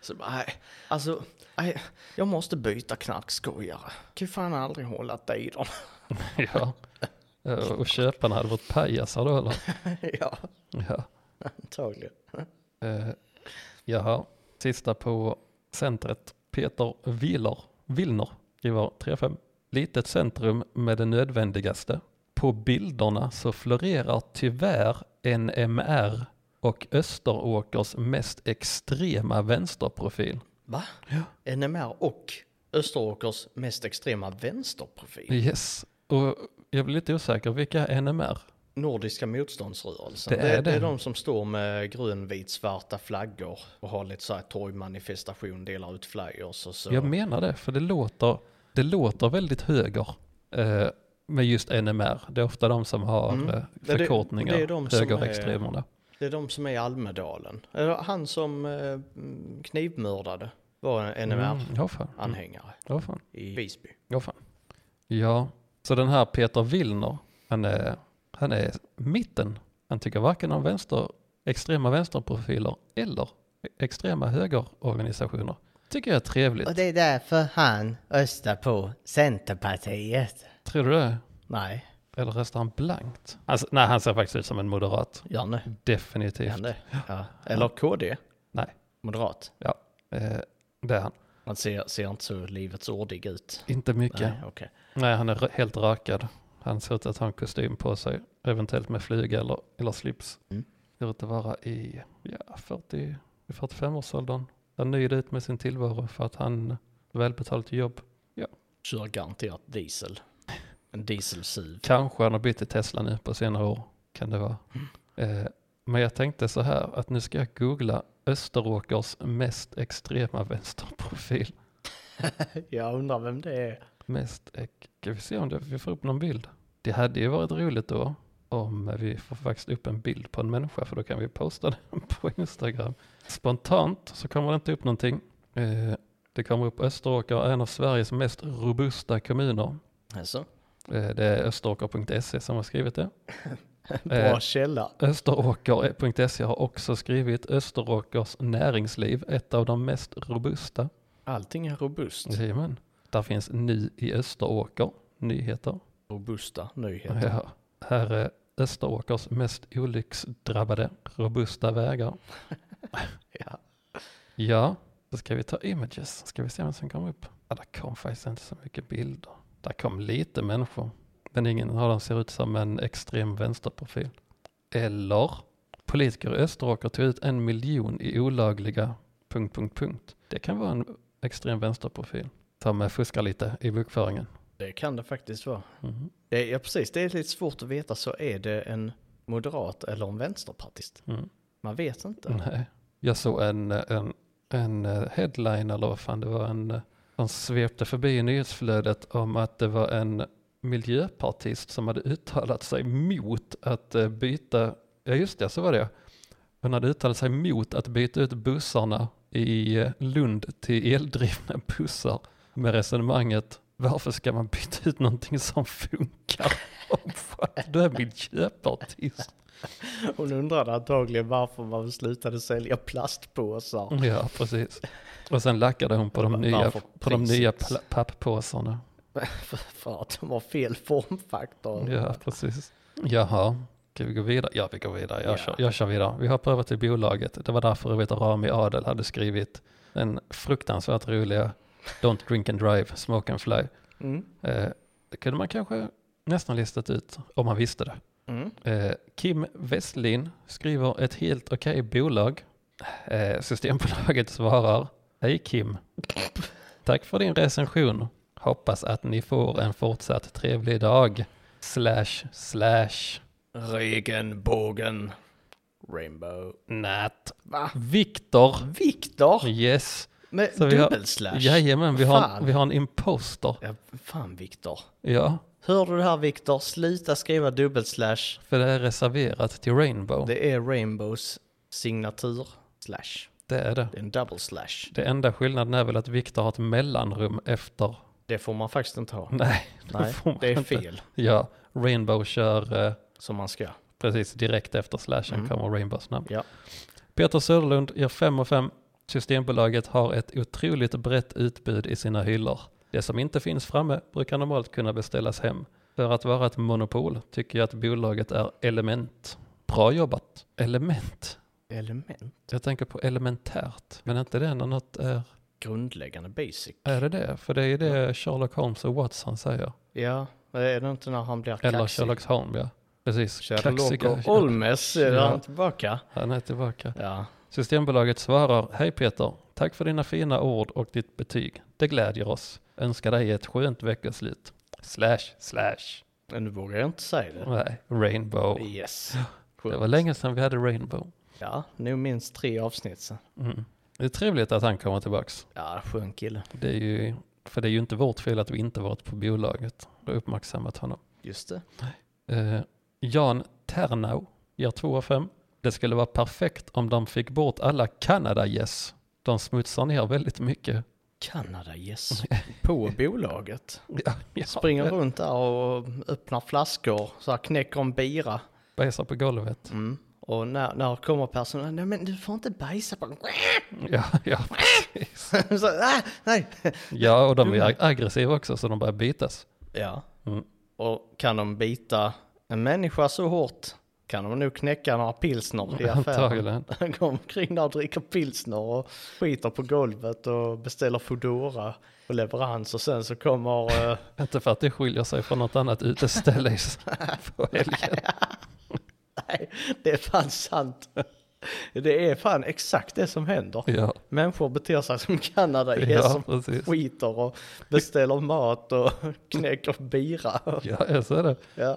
Så, bara, nej, alltså, nej, jag måste byta knarkskojare. Kan ju fan aldrig hålla dig i dem.
Ja. Eh, Och köparna hade varit pajasar då eller?
ja,
Ja.
antagligen.
Eh, jaha, sista på centret. Peter Willer, Willner skriver 3-5. Litet centrum med det nödvändigaste. På bilderna så florerar tyvärr NMR och Österåkers mest extrema vänsterprofil.
Va? NMR och Österåkers mest extrema vänsterprofil.
Yes, och jag blir lite osäker, vilka är NMR?
Nordiska motståndsrörelsen.
Det
Det
är
är, det,
det.
är de som står med grön, vit, svarta flaggor och har lite så här torgmanifestation, delar ut flyers och så.
Jag menar det, för det låter, det låter väldigt höger eh, med just NMR. Det är ofta de som har
Mm.
eh,
det är
förkortningar,
de som är-
högerextremerna.
Det är de som är i Almedalen. Eller Han som eh, knivmördade var en NMR-anhängare
Ja, fan. Mm. Ja, fan.
i Visby.
Ja, fan. Ja, så den här Peter Willner, han är, han är mitten. Han tycker varken om vänster, extrema vänsterprofiler eller extrema högerorganisationer. Tycker jag är trevligt.
det är därför han röstar på Centerpartiet.
Tror du det?
Nej,
Eller röstar han blankt? Alltså, nej, han ser faktiskt ut som en moderat.
Janne.
Definitivt.
Janne. Ja. Eller KD.
Nej.
Moderat.
Eh, det är han.
Han ser, ser inte så livets ordig ut.
Inte mycket.
Nej,
Nej,
okej.
han är rö- helt rakad. Han ser ut att ha en kostym på sig. Eventuellt med flyga eller, eller slips.
Mm.
Ser ut att vara i ja, 40 i 45-årsåldern. Han nöjd ut med sin tillvaro för att han välbetalt jobb.
Kör garanterat diesel. En dieselsuv.
Kanske han har bytt till Tesla nu på senare år. Kan det vara. Eh, men jag tänkte så här att nu ska jag googla Österåkers mest extrema vänsterprofil.
Jag undrar vem det är.
Mest ek- Ska vi se om det, vi får upp någon bild? Det hade ju varit roligt då om vi får faktiskt upp en bild på en människa för då kan vi posta den på Instagram. Spontant så kommer det inte upp någonting. Eh, det kommer upp Österåker, en av Sveriges mest robusta kommuner.
Alltså,
Eh, det är österåker.se E som har skrivit det.
bra källa.
Österåker.se E har också skrivit Österåkers näringsliv, ett av de mest robusta.
Allting är robust.
Jajamän. Där finns Ny i Österåker, nyheter.
Robusta nyheter.
Ja. Här är Österåkers mest olycksdrabbade, robusta vägar.
Ja.
Ja, då ska vi ta images. Ska vi se vem som kom upp. Ja, där kom faktiskt inte så mycket bilder. Där kom lite människor. Men ingen av dem ser ut som en extrem vänsterprofil. Eller politiker i Österåker tog ut en miljon i olagliga... Punkt, punkt, punkt. Det kan vara en extrem vänsterprofil. Som eh, fuskar lite i bokföringen.
Det kan det faktiskt vara.
Mhm,
Det är, ja, precis. Det är lite svårt att veta. Så är det en moderat eller en vänsterpartist?
mm.
Man vet inte.
Nej. Jag såg en, en, en eh, headline eller vad fan det var, en, eh, som svepte förbi i nyhetsflödet om att det var en miljöpartist som hade uttalat sig mot att eh, byta, ja just det, så var det Hon hade uttalat sig mot att byta ut bussarna i eh, Lund till eldrivna bussar med resonemanget varför ska man byta ut någonting som funkar om för att du är miljöpartist?
Hon undrade antagligen varför man slutade sälja plastpåsar.
Ja, precis. Och sen lackade hon på de
Varför
nya, på de
priset?
nya pla- papppåsarna.
För att de har fel formfaktor.
Ja, precis. Jaha, ska vi gå vidare? Ja, vi går vidare. Jag,
Ja.
kör, jag kör vidare. Vi hoppar över till bolaget. Det var därför jag vet att Rami Adel hade skrivit den fruktansvärt roliga Don't drink and drive, smoke and fly.
Mm.
Eh, det kunde man kanske nästan listat ut om man visste det.
Mm.
Eh, Kim Westlin skriver ett helt okej bolag. Eh, Systembolaget svarar, hej Kim. Tack för din recension. Hoppas att ni får en fortsatt trevlig dag. Slash, slash,
Regenbogen. Rainbow.
nat.
Va?
Viktor.
Viktor?
Yes.
Med
Så vi har-
dubbelslash?
Jajamän, vi har,
Fan.
vi har en imposter.
Ja, fan Viktor.
Ja,
Hör du det här Viktor? Sluta skriva dubbelslash.
för det är reserverat till Rainbow. Det,
Det är Rainbows signatur slash.
är det.
Det är en double slash.
Det enda skillnaden är väl att Viktor har ett mellanrum efter.
Det får man faktiskt inte ha.
Nej, Mm. det
Nej,
får man
det är
inte.
fel
Ja, Rainbow kör eh,
som man ska.
precis direkt efter slashen
Mm.
kommer Rainbows namn.
Ja.
Peter Söderlund gör 5 och 5. Systembolaget har ett otroligt brett utbud i sina hyllor. Det som inte finns framme brukar normalt kunna beställas hem. För att vara ett monopol tycker jag att bolaget är element. Bra jobbat. Element.
Element.
Jag tänker på elementärt. Men är inte det när något är...
Grundläggande basic.
Är det det? För det är ju det Sherlock Holmes och Watson säger.
Ja, är det inte när han blir
Eller
kaxig?
Sherlock Holmes, ja. Precis.
Sherlock
Kaxiga-
och Olmes är
Ja.
han tillbaka.
Han är tillbaka.
Ja,
Systembolaget svarar, hej Peter, tack för dina fina ord och ditt betyg. Det glädjer oss. Önskar dig ett skönt veckoslut. Slash, slash.
men nu vågar jag inte säga det.
Nej, Rainbow.
Yes.
Det var länge sedan vi hade Rainbow.
Ja, nu minst tre avsnitt sen.
Mm. Det är trevligt att han kommer tillbaks.
Ja, skön kille.
Det är ju, för det är ju inte vårt fel att vi inte varit på bolaget och uppmärksammat honom.
Just det.
Eh, Jan Ternau ger 2 av 5. Det skulle vara perfekt om de fick bort alla Kanada-gäss. De smutsar ner väldigt mycket.
Kanada yes. På bolaget.
Ja, ja.
Springer runt där och öppnar flaskor, så här knäcker en bira.
Bajsar på golvet.
Mm. Och när, när kommer personen, nej men du får inte bajsa på...
Ja, ja, precis.
så, ah, nej.
ja och de är aggressiva också så de börjar bitas.
Ja.
Mm.
Och kan de bita en människa så hårt kan de nog knäcka några pilsner i affären.
Antagligen.
Går omkring där och dricker pilsner och skiter på golvet och beställer Foodora på leverans och sen så kommer eh,
Inte för att det skiljer sig från något annat uteställe i s- på helgen.
Nej, det är fan sant. Det är fan exakt det som händer.
Ja,
Människor beter sig som kanadagäss
ja
som
precis.
skiter och beställer mat och knäcker bira.
Ja, så är det.
Ja.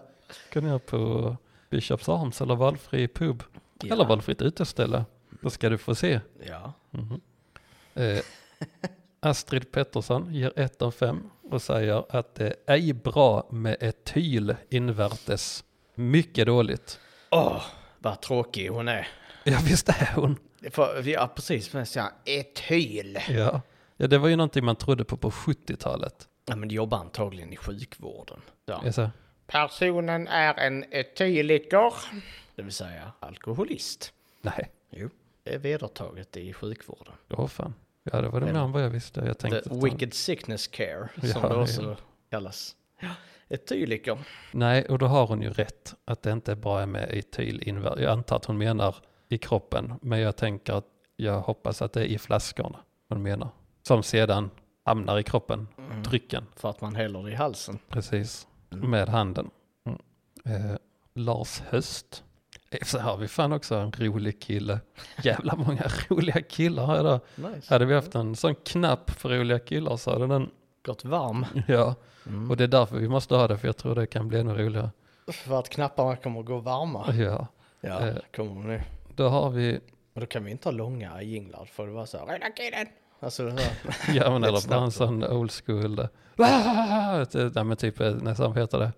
Kan jag på Bishops Arms eller valfri pub eller valfritt uteställe. Då ska du få se.
Ja.
Eh, Astrid Pettersson ger 1 av 5 och säger att det är ej bra med etyl invärtes. Mycket dåligt.
Åh, vad tråkig hon är.
Ja visst är hon.
För, ja, precis. Men så här, etyl.
Ja. ja, det var ju någonting man trodde på på 70-talet.
Ja, men de jobbar antagligen i sjukvården. Ja.
Jag säger,
Personen är en etyliker. Det vill säga alkoholist.
nej,
Jo. Det är vedertaget i sjukvården.
åh fan. Ja, det var det
Men-
mer än vad jag visste. Jag tänkte
The
att-
Wicked Sickness Care, som
Ja,
det
ja.
också kallas. Etyliker.
Nej, och då har hon ju rätt att det inte är bra med etyl invär. Jag antar att hon menar i kroppen, men jag tänker att jag hoppas att det är i flaskorna hon menar. Som sedan hamnar i kroppen,
Mm.
drycken,
För att man häller det i halsen.
precis, med handen. Mm. Eh, Lars Höst. Eh, Så har vi fan också en rolig kille. Jävla många roliga killar här idag.
Nice.
Hade vi haft en sån knapp för roliga killar så hade den,
Gått varm.
ja.
Mm.
Och det är därför vi måste ha det, för jag tror det kan bli ännu roligare.
För att knapparna kommer att gå varma.
Ja.
Ja,
Eh.
det kommer de nu.
Då har vi
Och då kan vi inte ha långa jinglar för det var så här. Röda killen! Alltså det här.
Ja men
Lite
eller bara en
snabbt
sån old school. eh, "Ah!" Ett, eh, Nej men typ, eh, nästan vad heter det?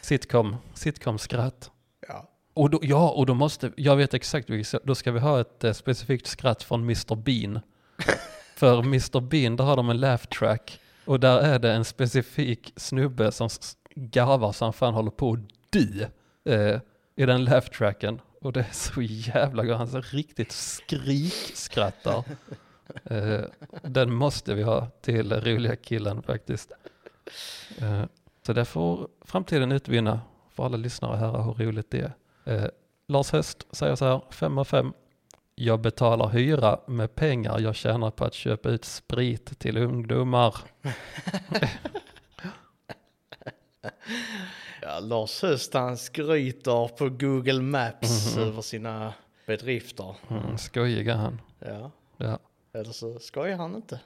Sitcom, sitcom-skratt.
Ja.
Och då, ja, och då måste, jag vet exakt vilket, då ska vi ha ett eh, specifikt skratt från Mr Bean. För Mr Bean, där har de en laugh track. Och där är det en specifik snubbe som s- garvar så han fan håller på att dö eh, i den laugh tracken. Och det är så jävla gott, han så riktigt skrikskrattar. Eh, den måste vi ha till roliga killen faktiskt. Eh, så där får framtiden utvinna för alla lyssnare här hur roligt det är. Eh, Lars Höst säger så här, 5 av 5. Jag betalar hyra med pengar jag tjänar på att köpa ut sprit till ungdomar.
Ja, Lars Höst han skryter på Google Maps
Mhm.
över sina bedrifter.
Mm, skojiga han.
Ja.
Ja.
Eller så skojar han inte.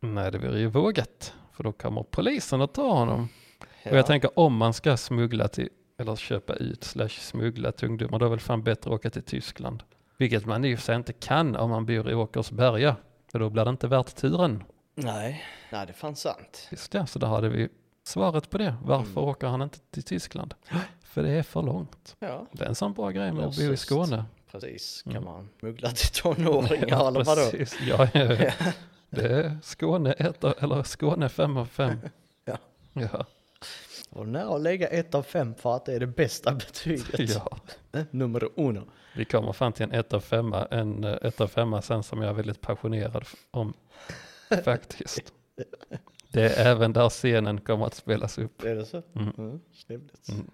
Nej, det vore ju vågat, för då kommer polisen att ta honom. Och
Ja.
jag tänker om man ska smuggla till, eller köpa ut slash smuggla till ungdomar, då är det väl fan bättre att åka till Tyskland. Vilket man i och för sig inte kan om man bor i Åkersberga, för då blir det inte värt turen.
Nej. Nej, det är fan sant.
Just det, så där hade vi svaret på det. Varför
Mm.
åker han inte till Tyskland? För det är för långt.
Ja.
Det är en sån bra grej med att bo i
Låtsas.
Skåne.
Precis, kan man muggla till tonåringar eller vadå?
Mm. precis. Ja, ja, ja. Det är Skåne 1 eller Skåne 5 av 5.
Ja.
Ja,
Och nära att lägga ett av fem för att det är det bästa betyget. Eh,
ja.
Nummer uno.
Vi kommer fram till en 1 av 5, en 1 av 5 sen som jag är väldigt passionerad f- om faktiskt. Det är även där scenen kommer att spelas upp.
Är det så?
Mm.
Trevligt.
Mm.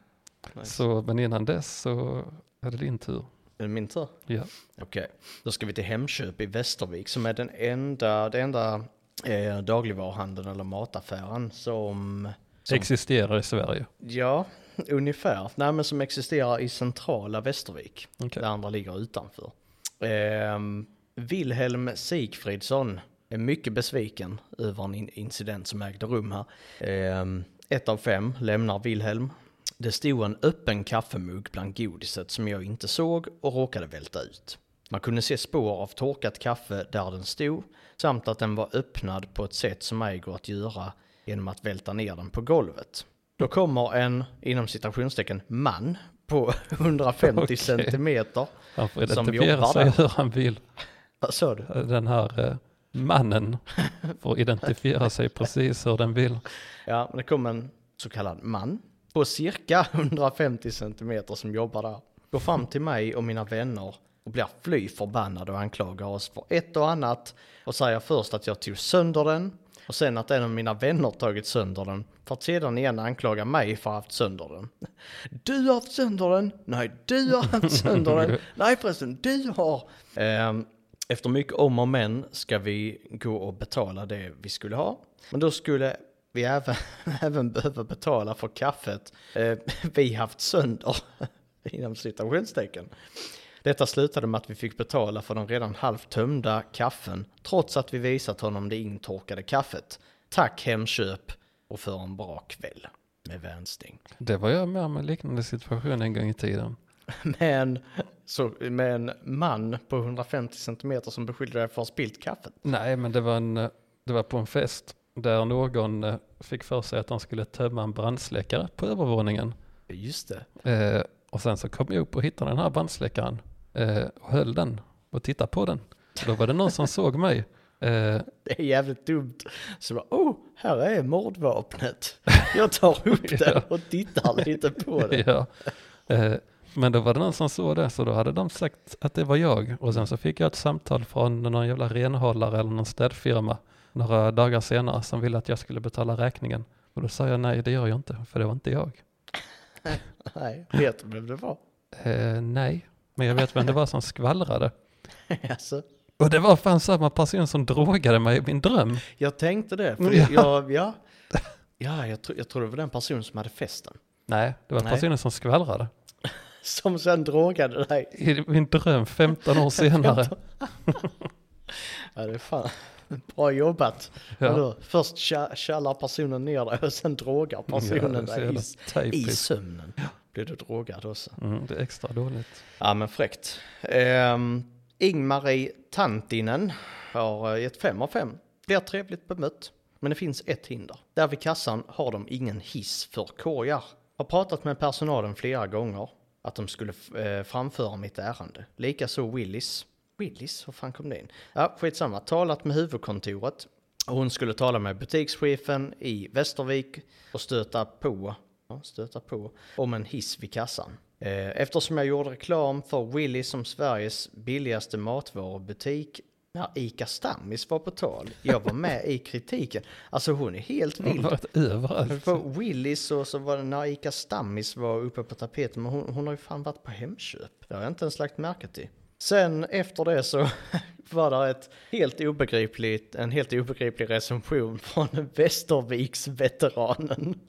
Nice.
Så, men innan dess så är det din tur.
Är det min tur?
Ja.
Okej, då ska vi till Hemköp i Västervik som är den enda, den enda eh, dagligvaruhandeln eller mataffären som, som
Existerar i Sverige.
ja, ungefär, nej men som existerar i centrala Västervik.
Okej.
Det andra ligger utanför. Ehm, Wilhelm Sigfridsson är mycket besviken över en in- incident som ägde rum här. Ehm, ett av fem lämnar Wilhelm. Det stod en öppen kaffemugg bland godiset som jag inte såg och råkade välta ut. Man kunde se spår av torkat kaffe där den stod samt att den var öppnad på ett sätt som ej går att göra genom att välta ner den på golvet. Då kommer en, inom citationstecken, man på 150
Okej.
centimeter
Han får
Som
identifiera
jobbar
sig
där.
hur han vill.
vad sa du?
Den här eh, mannen får identifiera sig precis hur den vill.
Ja, men det kom en så kallad man på cirka 150 centimeter som jobbar där. Går fram till mig och mina vänner och blir fly förbannad och anklagar oss för ett och annat och säger först att jag tog sönder den Och sen att en av mina vänner tagit sönder den. För att sedan igen anklaga mig för att ha haft sönder den. Du har haft sönder den! Nej, du har haft sönder den! Nej förresten, du har! Ehm, efter mycket om och men ska vi gå och betala det vi skulle ha. Men då skulle vi även, även behöva betala för kaffet eh, vi haft sönder. Inom citationstecken. Detta slutade med att vi fick betala för den redan halvt tömda kaffen trots att vi visat honom det intorkade kaffet. Tack Hemköp och för en bra kväll. Med vänstning.
Det var jag med om en liknande situation en gång i tiden.
Med en, så, med en man på 150 cm som beskyllde dig för att ha spillt kaffet.
Nej, men det var, en, eh, det var på en fest där någon eh, fick för sig att de skulle tömma en brandsläckare på övervåningen.
Just det.
Eh, och sen så kom jag upp och hittade den här brandsläckaren eh, och höll den och tittade på den. Då var det någon som såg mig. Eh,
Det är jävligt dumt. Så bara, oh, här är mordvapnet. Jag tar upp den och tittar lite på den.
ja. eh, men då var det någon som såg det, så då hade de sagt att det var jag. Och sen så fick jag ett samtal från någon jävla renhållare eller någon städfirma några dagar senare som ville att jag skulle betala räkningen. Och då sa jag nej, det gör jag inte, för det var inte jag.
Nej, vet du vem det var?
Eh, nej, men jag vet vem det var som skvallrade.
Alltså,
Och det var fan samma person som drogade mig i min dröm.
jag tänkte det. För
Ja.
jag, ja, ja, jag, tro, jag tror det var den personen som hade festen.
Nej, det var
Nej.
personen som skvallrade.
Som sen drogade dig.
I min dröm 15 år senare.
Ja, det är fan. Bra jobbat.
Ja.
Vadå? Först tja- tjallar personen ner dig och sen drogar
Ja,
personen
det är så
dig
jävla
i, i
typiskt.
sömnen. Blir du drogad också.
Mm, det är extra dåligt.
Ja men fräckt. Um, Ingmarie Tantinen har eh, gett 5 av 5. Blir trevligt bemött. Men det finns ett hinder. Där vid kassan har de ingen hiss för korgar. Har pratat med personalen flera gånger att de skulle eh, framföra mitt ärende. Likaså Willis. Willis? Hur fan kom det in? Ja, skitsamma. Talat med huvudkontoret. Och Hon skulle tala med butikschefen i Västervik och stöta på, ja, stöta på om en hiss vid kassan. Eh, Eftersom jag gjorde reklam för Willy som Sveriges billigaste matvarubutik när Ica Stammis var på tal. Jag var med i kritiken. Alltså hon är helt
Det har
vild.
varit överallt.
På Alltså, Willys och så var det när Ica Stammis var uppe på tapeten. Men hon, hon har ju fan varit på Hemköp. Det har jag inte ens lagt märke till. Sen efter det så var det ett helt obegripligt, en helt obegriplig recension från Västerviksveteranen.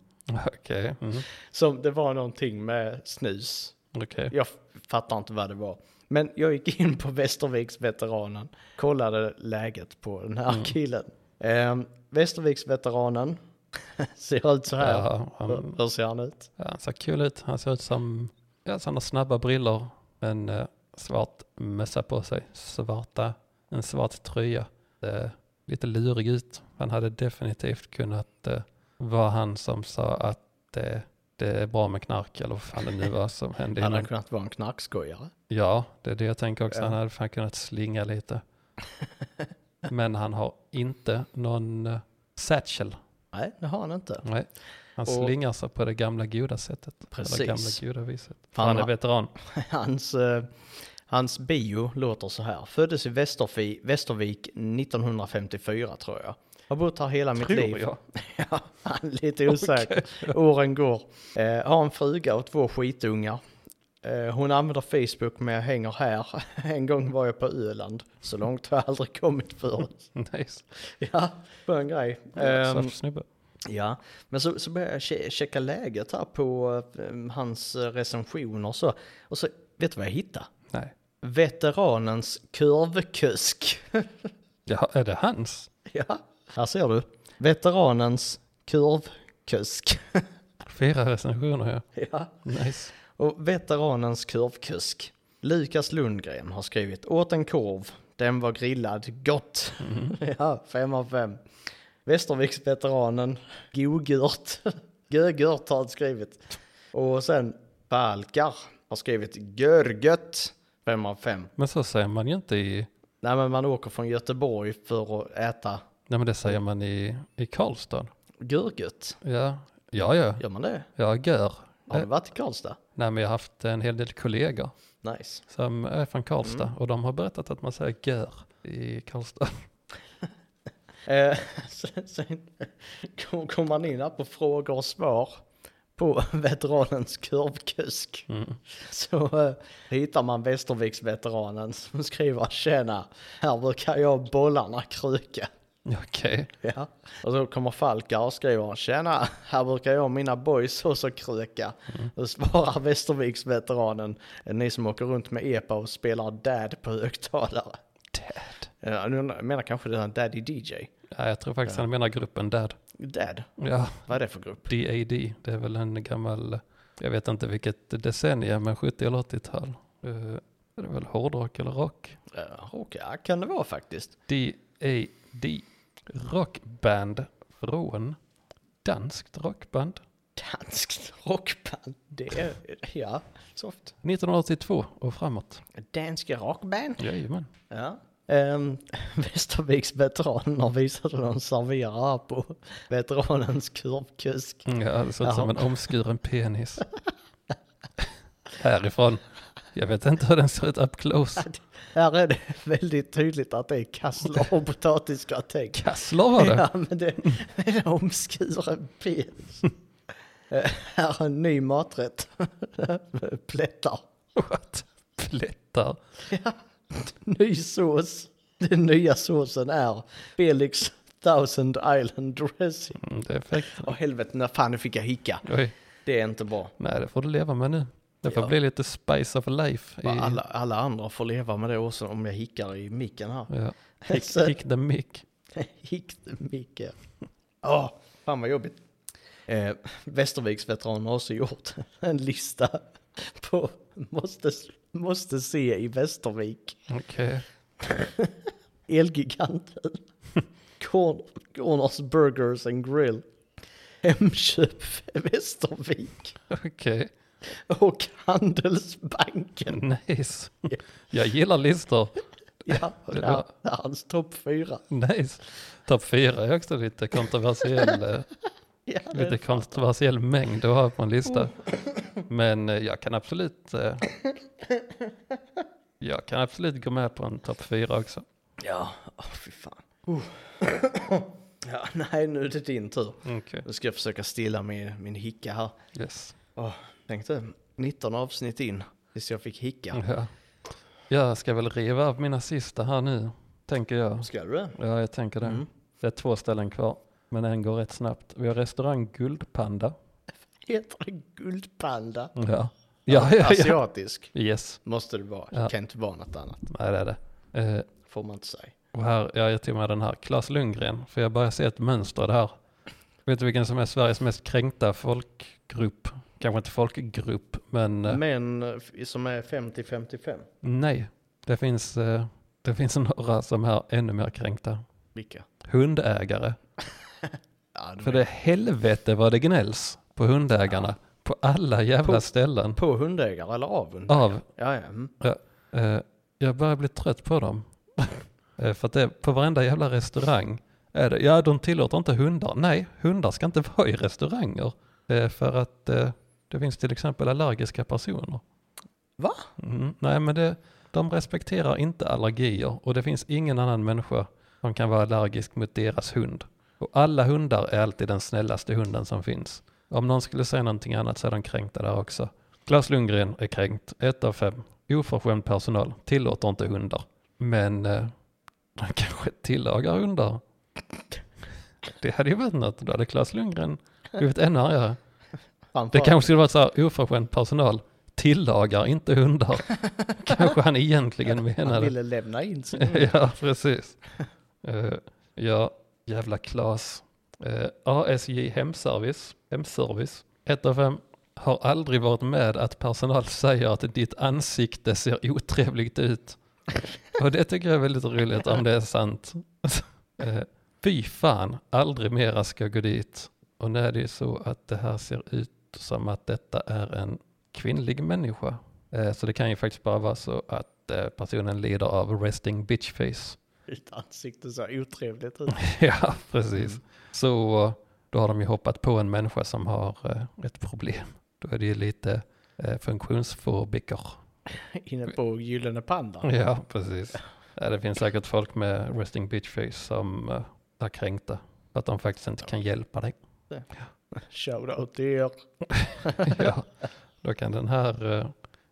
Okej. Mm.
Som det var någonting med snus.
Okej.
Jag f- fattar inte vad det var. Men jag gick in på Västerviksveteranen, kollade läget på den här killen. Eh, Västerviksveteranen ser ut så här.
Ja, han,
Hur- Hur ser han ut?
ja, han ser kul ut. Han ser ut som, ja, så han har snabba brillor, en eh, svart mössa på sig, svarta, en svart tröja. Eh, lite lurig ut. Han hade definitivt kunnat eh, vara han som sa att eh, det är bra med knark eller vad fan det nu var som hände
Hade
innan.
han kunnat vara en knarkskojare?
Ja, det är det jag tänker också.
Ja.
Han hade fan kunnat slinga lite. Men han har inte någon eh, satchel.
Nej, det har han inte.
Nej. Han
Och-
slingar sig på det gamla goda sättet.
Precis.
Eller gamla goda viset. För
Han
han är
har-
veteran.
Hans, eh, hans bio låter så här. Föddes i Västerfi, Västervik 1954 tror jag. Har bott här hela mitt
Tror
liv.
jag.
Ja, han är lite osäker. Åren går. Eh, har en fruga och två skitungar. Eh, hon använder Facebook men jag hänger här. En gång var jag på Öland. Så långt har jag aldrig kommit förut.
Nice.
Ja, bara en grej. Ehm,
Svart snubbe.
Ja, men så, så började jag che- checka läget här på eh, hans eh, recensioner och så. Och så, vet du vad jag hittade?
Nej.
Veteranens kurvkusk.
Ja, är det hans?
ja, här ser du. Veteranens kurvkusk.
Fyra recensioner ja.
ja.
Nice.
Och veteranens kurvkusk. Lukas Lundgren har skrivit åt en korv. Den var grillad gott. ja, fem av fem. Västerviksveteranen. Gogurt. Gögurt har han skrivit. Och sen Balkar har skrivit görgött. Fem av fem.
Men så säger man ju inte i...
Nej men man åker från Göteborg för att äta
Nej men det säger man i, i Karlstad.
görgött.
Ja. Ja, ja.
Gör man det?
Jag gör.
Har du varit i Karlstad?
Nej men jag har haft en hel del kollegor
Nice.
som är från Karlstad och de har berättat att man säger gör i Karlstad.
Eh, sen sen kom, kom man in här på frågor och svar på veteranens kurvkusk.
Mm.
Så eh, hittar man Västerviksveteranen som skriver tjena, här brukar jag och bollarna kruka.
Okej.
Ja. Och så kommer Falkar och skriver tjena, här brukar jag och mina boys också kruka. Då svarar Västerviksveteranen, ni som åker runt med EPA och spelar dad på högtalare.
Dad.
Ja, nu menar kanske det är en daddy DJ.
Ja, jag tror faktiskt han menar gruppen Dad.
Dad,
Ja,
vad är det för grupp?
DAD. Det är väl en gammal, jag vet inte vilket decennium, men 70 eller 80-tal. Eh, Är det väl hårdrock eller rock?
Uh, Okej, ja, kan det vara faktiskt.
DAD. Rockband från danskt rockband.
Danskt rockband, det är, ja, soft.
1982 och framåt.
Danska rockband.
Jajamän.
Ja. Um, Västerviks veteranen har visat hur de serverar här på veteranens kurvkusk.
Mm, Ja, det ser ut som
Jaha.
en omskuren penis. Härifrån. Jag vet inte hur den ser ut up close.
Här är det väldigt tydligt att det är kassler och potatisgratäng.
Kassler var det.
Ja, men det det är en omskuren pils. Eh, här är en ny maträtt. Plättar.
What? Plättar.
Ny sås. Den nya såsen är Felix Thousand Island Dressing.
Mm, det är fräckt.
Åh helvete, när fan nu fick jag hicka.
Oj.
Det är inte bra.
Nej, det får du leva med nu. Det får
Ja.
bli lite spice of life. I,
Bara Alla, alla andra får leva med det också om jag hickar i micken här. Alltså,
ja.
Så-
Hick, hick the mick.
Hick Micke. Åh, fan vad jobbigt. Eh, Västerviks veteran har också gjort en lista på måste, måste se i Västervik.
Okej.
Elgiganten. Corn- Corners Burgers and Grill. Hemköp Västervik.
Okej.
Och Handelsbanken.
Nice. Jag gillar listor.
Ja, det är det är hans topp fyra.
Nice. Topp fyra är också lite kontroversiell. eh,
Ja, Oh. det är
lite kontroversiell mängd att ha på en lista. Men eh, jag kan absolut eh, jag kan absolut gå med på en topp fyra också.
Ja, oh, fy fan. ja, nej, nu är det din tur.
Okej,
Nu ska jag försöka stilla min, min hicka här.
yes.
Oh, tänkte 19 avsnitt in tills jag fick hicka.
Ja. Jag ska väl riva av mina sista här nu, tänker jag.
Ska du det?
Ja, jag tänker det.
Mm.
Det är två ställen kvar, men en går rätt snabbt. Vi har restaurang Guldpanda.
Heter det guldpanda?
Ja, ja, ja.
alltså
ja.
Asiatisk
Yes,
måste det vara.
Ja.
Det kan inte vara något annat.
nej det är det. Eh,
Får man inte säga.
Och här, ja, jag tog med den här, Claes Lundgren, för jag börjar se ett mönster i det här. Vet du vilken som är Sveriges mest kränkta folkgrupp? Kanske inte folkgrupp, men eh,
Men eh, f- som är 50-55.
nej. Det finns, eh, det finns några som är ännu mer kränkta.
Vilka?
Hundägare.
Ja, de
För
är-
det helvete vad det gnälls på hundägarna. På alla jävla
På-
ställen.
På hundägare eller av hundägare?
Av,
Ja, ja. Mm.
eh, jag börjar bli trött på dem. Eh, för att det, på varenda jävla restaurang är det, ja de tillåter inte hundar. Nej, hundar ska inte vara i restauranger. Eh, för att eh, det finns till exempel allergiska personer.
Va?
Mm, nej men det, de respekterar inte allergier och det finns ingen annan människa som kan vara allergisk mot deras hund. Och alla hundar är alltid den snällaste hunden som finns. Om någon skulle säga någonting annat så är de kränkta där också. Claes Lundgren är kränkt, ett av fem. Oförskämd personal, tillåter inte hundar. Men eh, de kanske tillagar hundar. Det hade ju varit något, då hade Claes Lundgren blivit ännu argare. Det
Framförallt-
kanske skulle vara så här, oförskämd personal tillagar inte hundar. Kanske han egentligen
Han
menade.
ville lämna in sin
ja, precis. Eh, ja, jävla Klas. Eh, ASJ Hemservice, Hemservice, 1 av 5, har aldrig varit med att personal säger att ditt ansikte ser otrevligt ut. Och det tycker jag är väldigt roligt om det är sant. Eh, Fy fan, aldrig mera ska gå dit. Och nu är det ju så att det här ser ut som att detta är en kvinnlig människa. Eh, Så det kan ju faktiskt bara vara så att eh, personen lider av resting bitch face.
Ditt ansikte ser otrevligt ut.
ja, precis. Mm. Så eh, då har de ju hoppat på en människa som har eh, ett problem. Då är det ju lite eh, funktionsfobiker.
Inne på Gyllene Panda.
Ja, precis. Ja, det finns säkert folk med resting bitch face som eh, är kränkta. För att de faktiskt inte kan hjälpa dig.
Shoutout till er.
ja, då kan den här eh,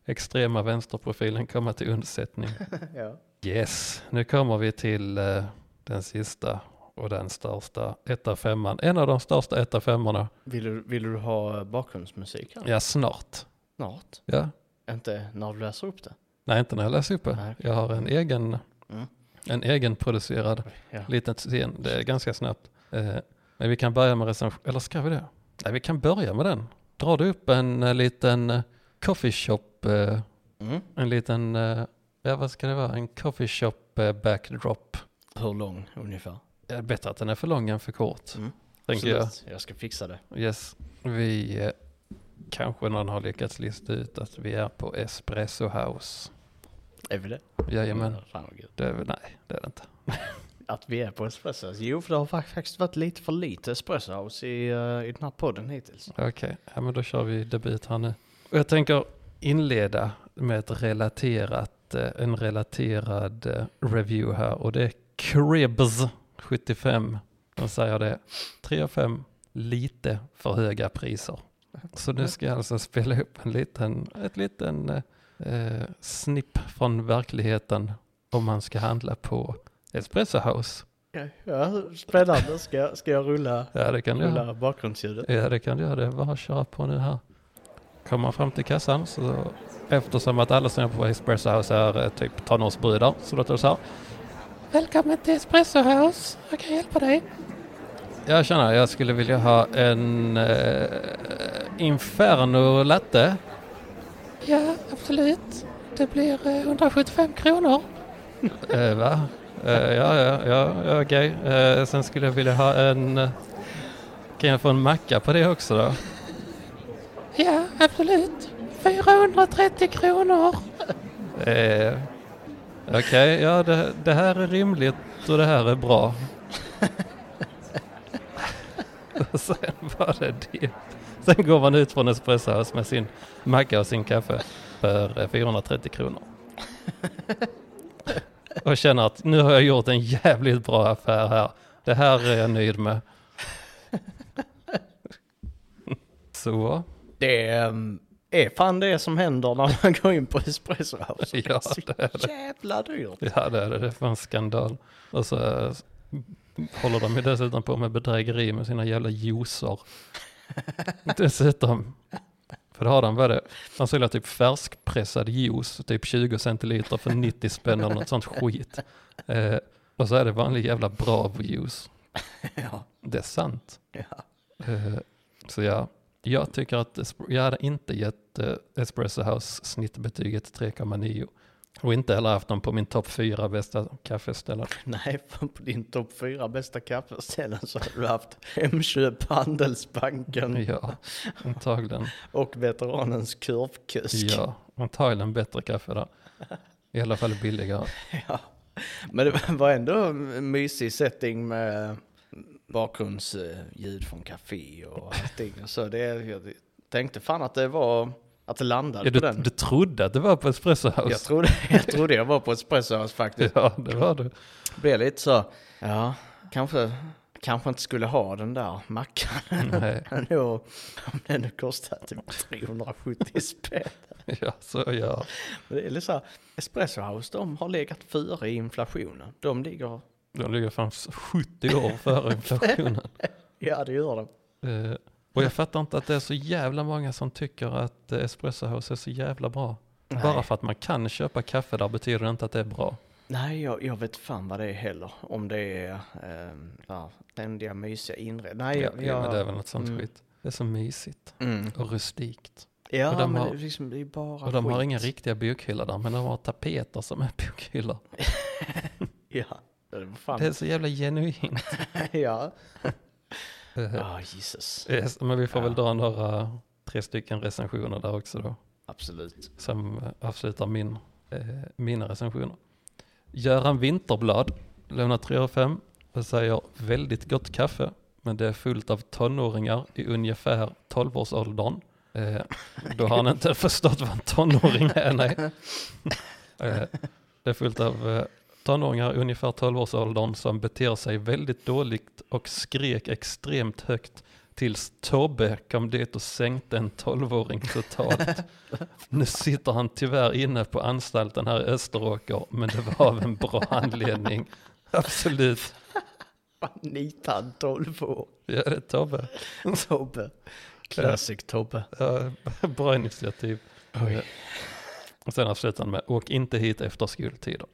extrema vänsterprofilen komma till undsättning.
Ja.
Yes, nu kommer vi till eh, den sista och den största etta femman. En av de största etta femmorna.
Vill, du, vill du ha bakgrundsmusik? här?
Ja, snart.
Snart.
Ja.
Inte när du läser upp det.
Nej, inte när jag läser upp
Nej,
det.
okej.
Jag har en egen,
Mm.
en egen producerad
Ja.
liten scen. Det är ganska snabbt. Eh, men vi kan börja med recension. Eller ska vi det? Nej, vi kan börja med den. Drar du upp en eh, liten eh, coffee shop, eh,
Mm.
en liten, eh, ja vad ska det vara, en coffee shop eh, backdrop.
Hur lång ungefär?
Det är bättre att den är för lång än för kort,
Mm.
tänker jag.
Absolut. Jag ska fixa det.
Yes, vi eh, kanske någon har lyckats lista ut att vi är på Espresso House.
Är vi det?
Jajamän,
Fan vad gud.
det är väl, nej det är det inte.
Att vi är på espresso. House. Jo, för det har fak- faktiskt varit lite för lite espresso house i, eh, i den här podden hittills.
Okej, ja, men då kör vi debut här nu. Och jag tänker inleda med ett relaterat, eh, en relaterad eh, review här och det är Cribs75. De säger det, 3 av 5, lite för höga priser. Så nu ska jag alltså spela upp en liten, ett liten eh, eh, snipp från verkligheten om man ska handla på Espresso House.
Ja, spännande. Ska, ska jag rulla,
Ja, det kan du göra.
rulla bakgrundsljudet?
Ja, det kan du göra. Det är bara att köra på nu här. Kommer man fram till kassan så eftersom att alla som är på Espresso House är eh, typ tonårsbrudar så låter det så här. Välkommen till Espresso House. Jag kan hjälpa dig. Jag känner jag skulle vilja ha en eh, Inferno latte. Ja, absolut. Det blir 175 kronor. eh, va? Eh, ja, ja, ja, ja okej. Eh, sen skulle jag vilja ha en eh, kan jag få en macka på det också då? Ja, absolut. 430 kronor. eh, Okej, ja det, det här är rimligt och det här är bra. Och Sen var det det. Sen går man ut från Espresso House med sin macka och sin kaffe för eh, 430 kronor. Och känner att nu har jag gjort en jävligt bra affär här. Det här är jag nöjd med. Så,
Det ehm, är fan det som händer när man går in på espresso house.
Ja, det är
så jävla dyrt.
ja det är det. Det är fan skandal. Och så eh, håller de ju dessutom på med bedrägeri med sina jävla juicer. Dessutom. För det har de, vad är det? De säljer typ färskpressad juice, typ 20 centiliter för 90 spänn eller något sånt skit. Eh, och så är det vanlig jävla Bravo-juice.
Ja.
Det är sant.
Ja.
Eh, Så ja, jag tycker att Espr- jag hade inte gett eh, Espresso House snittbetyget 3,9. Och inte heller haft dem på min topp 4 bästa kaffeställen.
Nej, fan, på din topp fyra bästa kaffeställen så har du haft Hemköp, Handelsbanken
Ja, antagligen.
och Veteranens Kurvkusk.
Ja, antagligen bättre kaffe där. I alla fall billigare.
Ja. Men det var ändå en mysig setting med bakgrundsljud från café och allting. och Så det, jag tänkte fan att det var, att det landade
Ja, du,
på den.
du trodde att det var på Espresso
Jag
House?
trodde, jag trodde jag var på Espresso House faktiskt.
Ja, det var du.
Blev lite så, ja, kanske, kanske inte skulle ha den där mackan.
Nej,
Hallå, om den nu kostar typ 370 spänn.
ja, så ja.
Det är lite så här, Espresso House, de har legat före inflationen. De ligger,
De ligger fan 70 år före inflationen.
ja det gör de.
Eh, och jag fattar inte att det är så jävla många som tycker att eh, Espresso House är så jävla bra. Bara för att man kan köpa kaffe där betyder det inte att det är bra.
Nej, jag, jag vet fan vad det är heller. Om det är ehm, ja, ständiga mysiga inredningar. Nej,
Ja,
jag,
ja, men det är
jag,
väl något sånt
mm.
skit. Det är så mysigt
mm.
och rustikt.
ja
och de
men
har-
det, är liksom, det är bara
Och de har
skit.
inga riktiga bokhyllor där, men de har tapeter som är bokhyllor.
Ja, det är fan.
Det är så jävla genuint.
ja.
Eh,
Ah, Jesus.
eh, men vi får väl
Ja.
dra några, tre stycken recensioner där också då.
Absolut.
som eh, avslutar min, eh, mina recensioner. Göran Winterblad lämnar 3 av 5 och säger väldigt gott kaffe, men det är fullt av tonåringar i ungefär 12-årsåldern. Eh, då har han inte förstått vad en tonåring är, nej. Eh, det är fullt av eh, tonåringar i ungefär 12-årsåldern som beter sig väldigt dåligt och skrek extremt högt tills Tobbe kom dit och sänkte en 12-åring totalt. nu sitter han tyvärr inne på anstalten här i Österåker, men det var av en bra anledning. Absolut.
Fan, Nitad 12 år.
Ja, det är Tobbe.
Tobbe. Classic Tobbe.
Ja, bra initiativ. Och sen avslutar han med, åk inte hit efter skoltider.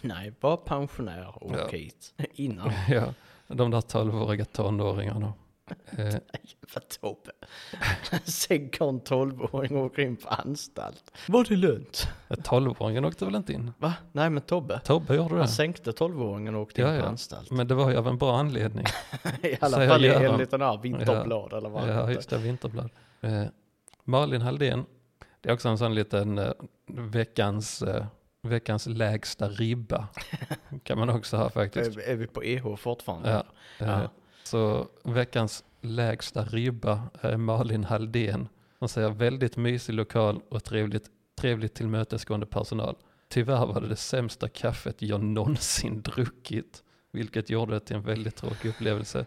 Nej, var pensionär och
Ja.
åk hit. Innan.
Ja, de där 12-åriga tonåringarna. Eh,
Jävla Tobbe. Sen kom en 12-åring och åker in på anstalt. Var det lönt?
12-åringen åkte väl inte in?
Va? Nej, men Tobbe.
Tobbe gjorde
Han
det.
sänkte 12-åringen och åkte in
Ja,
på
ja.
anstalt.
Men det var ju av en bra anledning.
I alla
säger
fall i
Göran.
enligt den här Vinterblad eller vad
Ja,
det
just
heter.
det, Vinterblad. Eh, Malin Halldén, det är också en sån liten eh, veckans, eh, veckans lägsta ribba. kan man också ha faktiskt.
Är, är vi på EH fortfarande?
Ja. Eh,
Ja.
Så veckans lägsta ribba är Malin Halldén. Hon säger väldigt mysig lokal och trevligt, trevligt tillmötesgående personal. Tyvärr var det det sämsta kaffet jag någonsin druckit, vilket gjorde det till en väldigt tråkig upplevelse.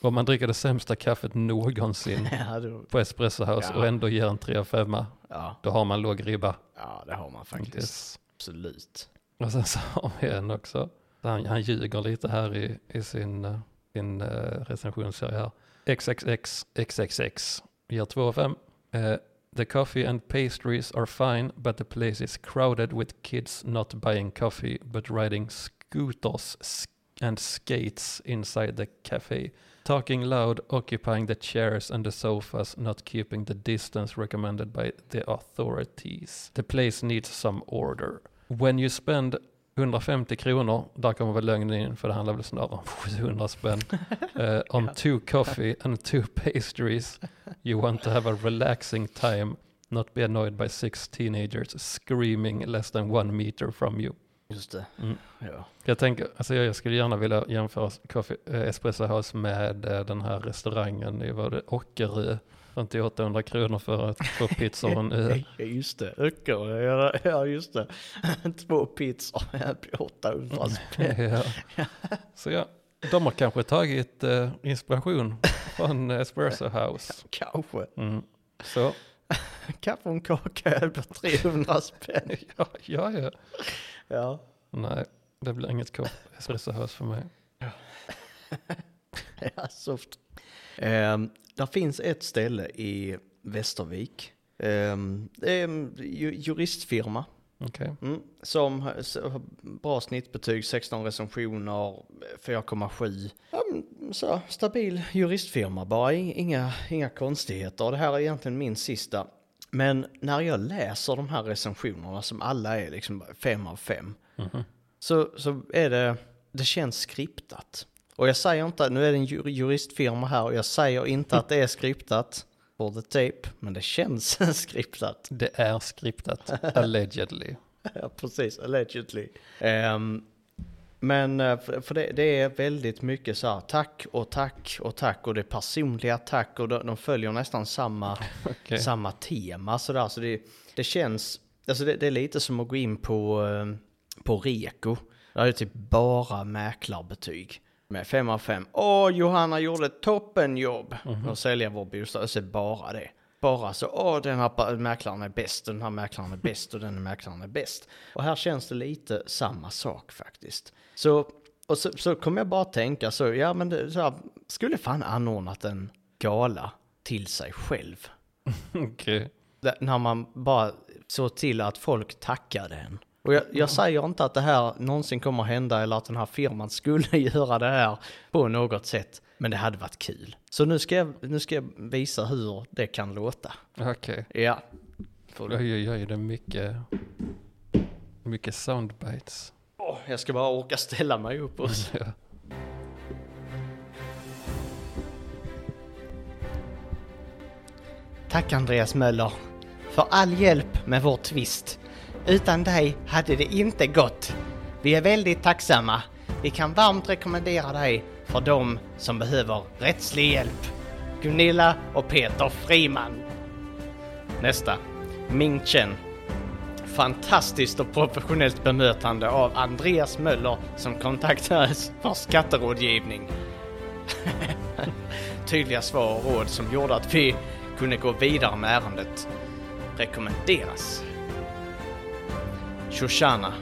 Om man dricker det sämsta kaffet någonsin
Ja, då,
på Espresso House
Ja.
och ändå ger en 3 av 5
ja,
då har man låg ribba.
ja, det har man faktiskt.
Yes.
Absolut.
Och sen så har vi en också. Han, han ljuger lite här i, i sin, eh, sin eh, recensionsserie här. XXX, XXX ger 2 av 5. Eh, the coffee and pastries are fine but the place is crowded with kids not buying coffee but riding scooters sk- and skates inside the cafe. Talking loud, occupying the chairs and the sofas, not keeping the distance recommended by the authorities. The place needs some order. When you spend 150 kronor, där kommer väl lögnen in för det handlar väl snarare om 700 spänn. eh, on two coffee and two pastries, you want to have a relaxing time, not be annoyed by six teenagers screaming less than one meter from you.
Just det.
Mm.
Ja.
Jag tänker, alltså jag jag skulle gärna vilja jämföra coffee, eh, Espresso House med eh, den här restaurangen i var det Ockerö. Som tog 800 kronor för att få pizza och en öl.
Ja, just det. Öcker. Ja, ja, just det. Två pizzor. Det blir 800 spänn.
ja. Så ja, de har kanske tagit eh, inspiration från Espresso House.
Kanske.
Mm. Så,
Kaffe och en kaka. Det blir 300 spänn.
ja, ja, ja.
Ja.
Nej, det blir inget kopp Espresso House för mig.
Ja, soft. Ehm, där finns ett ställe i Västervik. Ehm, det är en ju- juristfirma
Okej.
mm, som har s- har bra snittbetyg, 16 recensioner, 4,7. Ja, men så, stabil juristfirma bara, i- inga, inga konstigheter. Det här är egentligen min sista. Men när jag läser de här recensionerna som alla är liksom fem av fem
Mhm.
så, så är det, det känns skriptat. Och jag säger inte, nu är det en ju- juristfirma här och jag säger inte att det är skriptat for the tape, men det känns skriptat.
Det är skriptat, allegedly.
Ja, precis, allegedly. Ehm, men eh, för, för det, det är väldigt mycket så här tack och tack och tack och det är personliga tack och de, de följer nästan samma
Okej.
samma tema sådär. Så det, det känns, alltså det, det är lite som att gå in på, eh, på Reko. Där är det typ bara mäklarbetyg. Med fem av fem. Åh, Johanna gjorde ett toppenjobb. Och sälja vår bostad. Och så är det bara det. Bara så, åh den här pa- mäklaren är bäst, den här mäklaren är bäst och den här mäklaren är bäst. Och här känns det lite samma sak faktiskt. Så, och så, så kommer jag bara tänka så, ja men det, så här, skulle fan anordnat en gala till sig själv.
Okej.
Där- När man bara såg till att folk tackade en. Och jag, jag säger inte att det här någonsin kommer hända eller att den här firman skulle göra det här på något sätt. Men det hade varit kul. Så nu ska jag, nu ska jag visa hur det kan låta.
Okej.
Ja. Får du-
Oj, oj, oj, det är mycket, mycket soundbites.
Åh, jag ska bara orka ställa mig upp och så.
Ja.
Tack Andreas Möller för all hjälp med vår tvist. Utan dig hade det inte gått. Vi är väldigt tacksamma. Vi kan varmt rekommendera dig för dem som behöver rättslig hjälp. Gunilla och Peter Friman. Nästa. Ming Chen. fantastiskt och professionellt bemötande av Andreas Möller som kontaktades för skatterådgivning. Tydliga svar och råd som gjorde att vi kunde gå vidare med ärendet. Rekommenderas. Shoshana.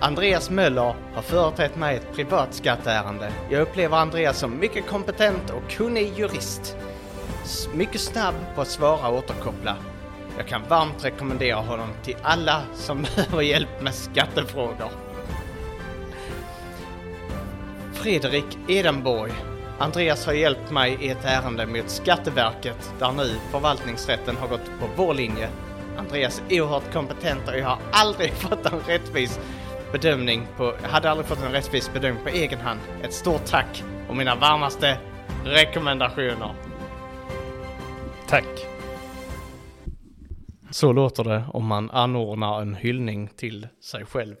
Andreas Möller har företrätt mig i ett privat skatteärende. Jag upplever Andreas som mycket kompetent och kunnig jurist. S- Mycket snabb på att svara och återkoppla. Jag kan varmt rekommendera honom till alla som behöver hjälp med skattefrågor. Fredrik Edenborg. Andreas har hjälpt mig i ett ärende mot Skatteverket där nu förvaltningsrätten har gått på vår linje. Andreas är oerhört kompetent och jag har aldrig fått en rättvis bedömning på, jag hade aldrig fått en rättvis bedömning på egen hand. Ett stort tack och mina varmaste rekommendationer. Tack. Så låter det om man anordnar en hyllning till sig själv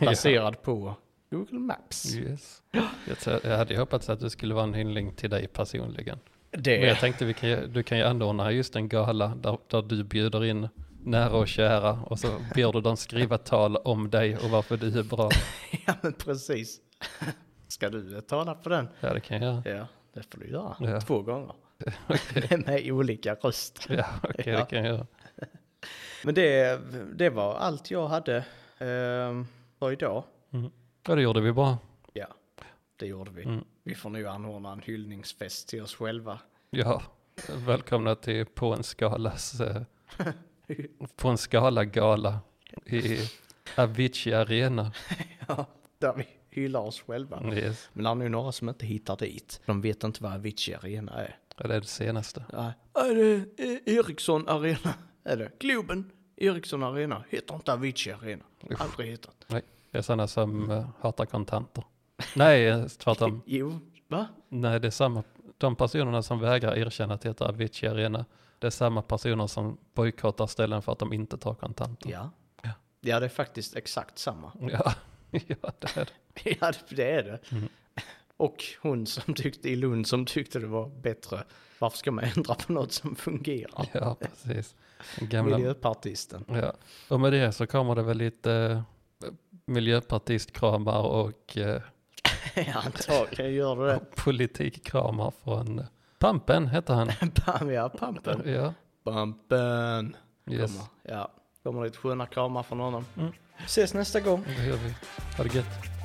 baserad på Google Maps.
Yes. Jag tror- Jag hade ju hoppats att det skulle vara en hyllning till dig personligen.
Det
Men jag tänkte vi kan, ju- du kan ju anordna just en gala där, där du bjuder in nära och kära och så ber du dem skriva tal om dig och varför du är bra.
Ja men precis. Ska du eh, tala på den?
Ja, det kan jag göra.
Ja, det får du göra.
Ja.
Två gånger. Men Med olika röst.
Ja, okej,
Ja.
det kan jag göra.
Men det, det var allt jag hade ehm, för idag.
Ja, det gjorde vi bra.
Ja, det gjorde vi. Vi får nu anordna en hyllningsfest till oss själva.
Ja, välkomna till På en skalas... eh, På en skala-gala i Avicii Arena.
Ja, där vi hyllar oss själva.
Yes.
Men det är nog några som inte hittar dit. De vet inte vad Avicii Arena är.
Ja, det är det senaste.
Nej. Är det eh, Ericsson Arena? Eller Globen? Ericsson Arena? Heter inte Avicii Arena. Aldrig hittat.
Nej, det är sådana som eh, hatar kontanter. Nej, eh, tvärtom.
Jo, va?
Nej, det är samma. De personerna som vägrar erkänna att det heter Avicii Arena, det är samma personer som bojkottar ställen för att de inte tar kontanter.
Ja.
Ja.
Ja, det är faktiskt exakt samma.
Ja, ja det är det.
Ja, det- det är det.
Mm-hmm.
Och hon som tyckte i Lund som tyckte det var bättre. Varför ska man ändra på något som fungerar?
Ja, precis. Gamla,
Miljöpartisten.
ja. Och med det så kommer det väl lite eh, miljöpartistkramar och eh,
Ja, antagligen gör det
politikkramar från eh, Pampen heter han.
det. Bam, ja, pampen.
Ja,
Pampen.
yes. Mm.
Kommer, ja. Kommer lite sköna kramar från honom. Ses nästa gång.
Det gör vi. Ha det gött.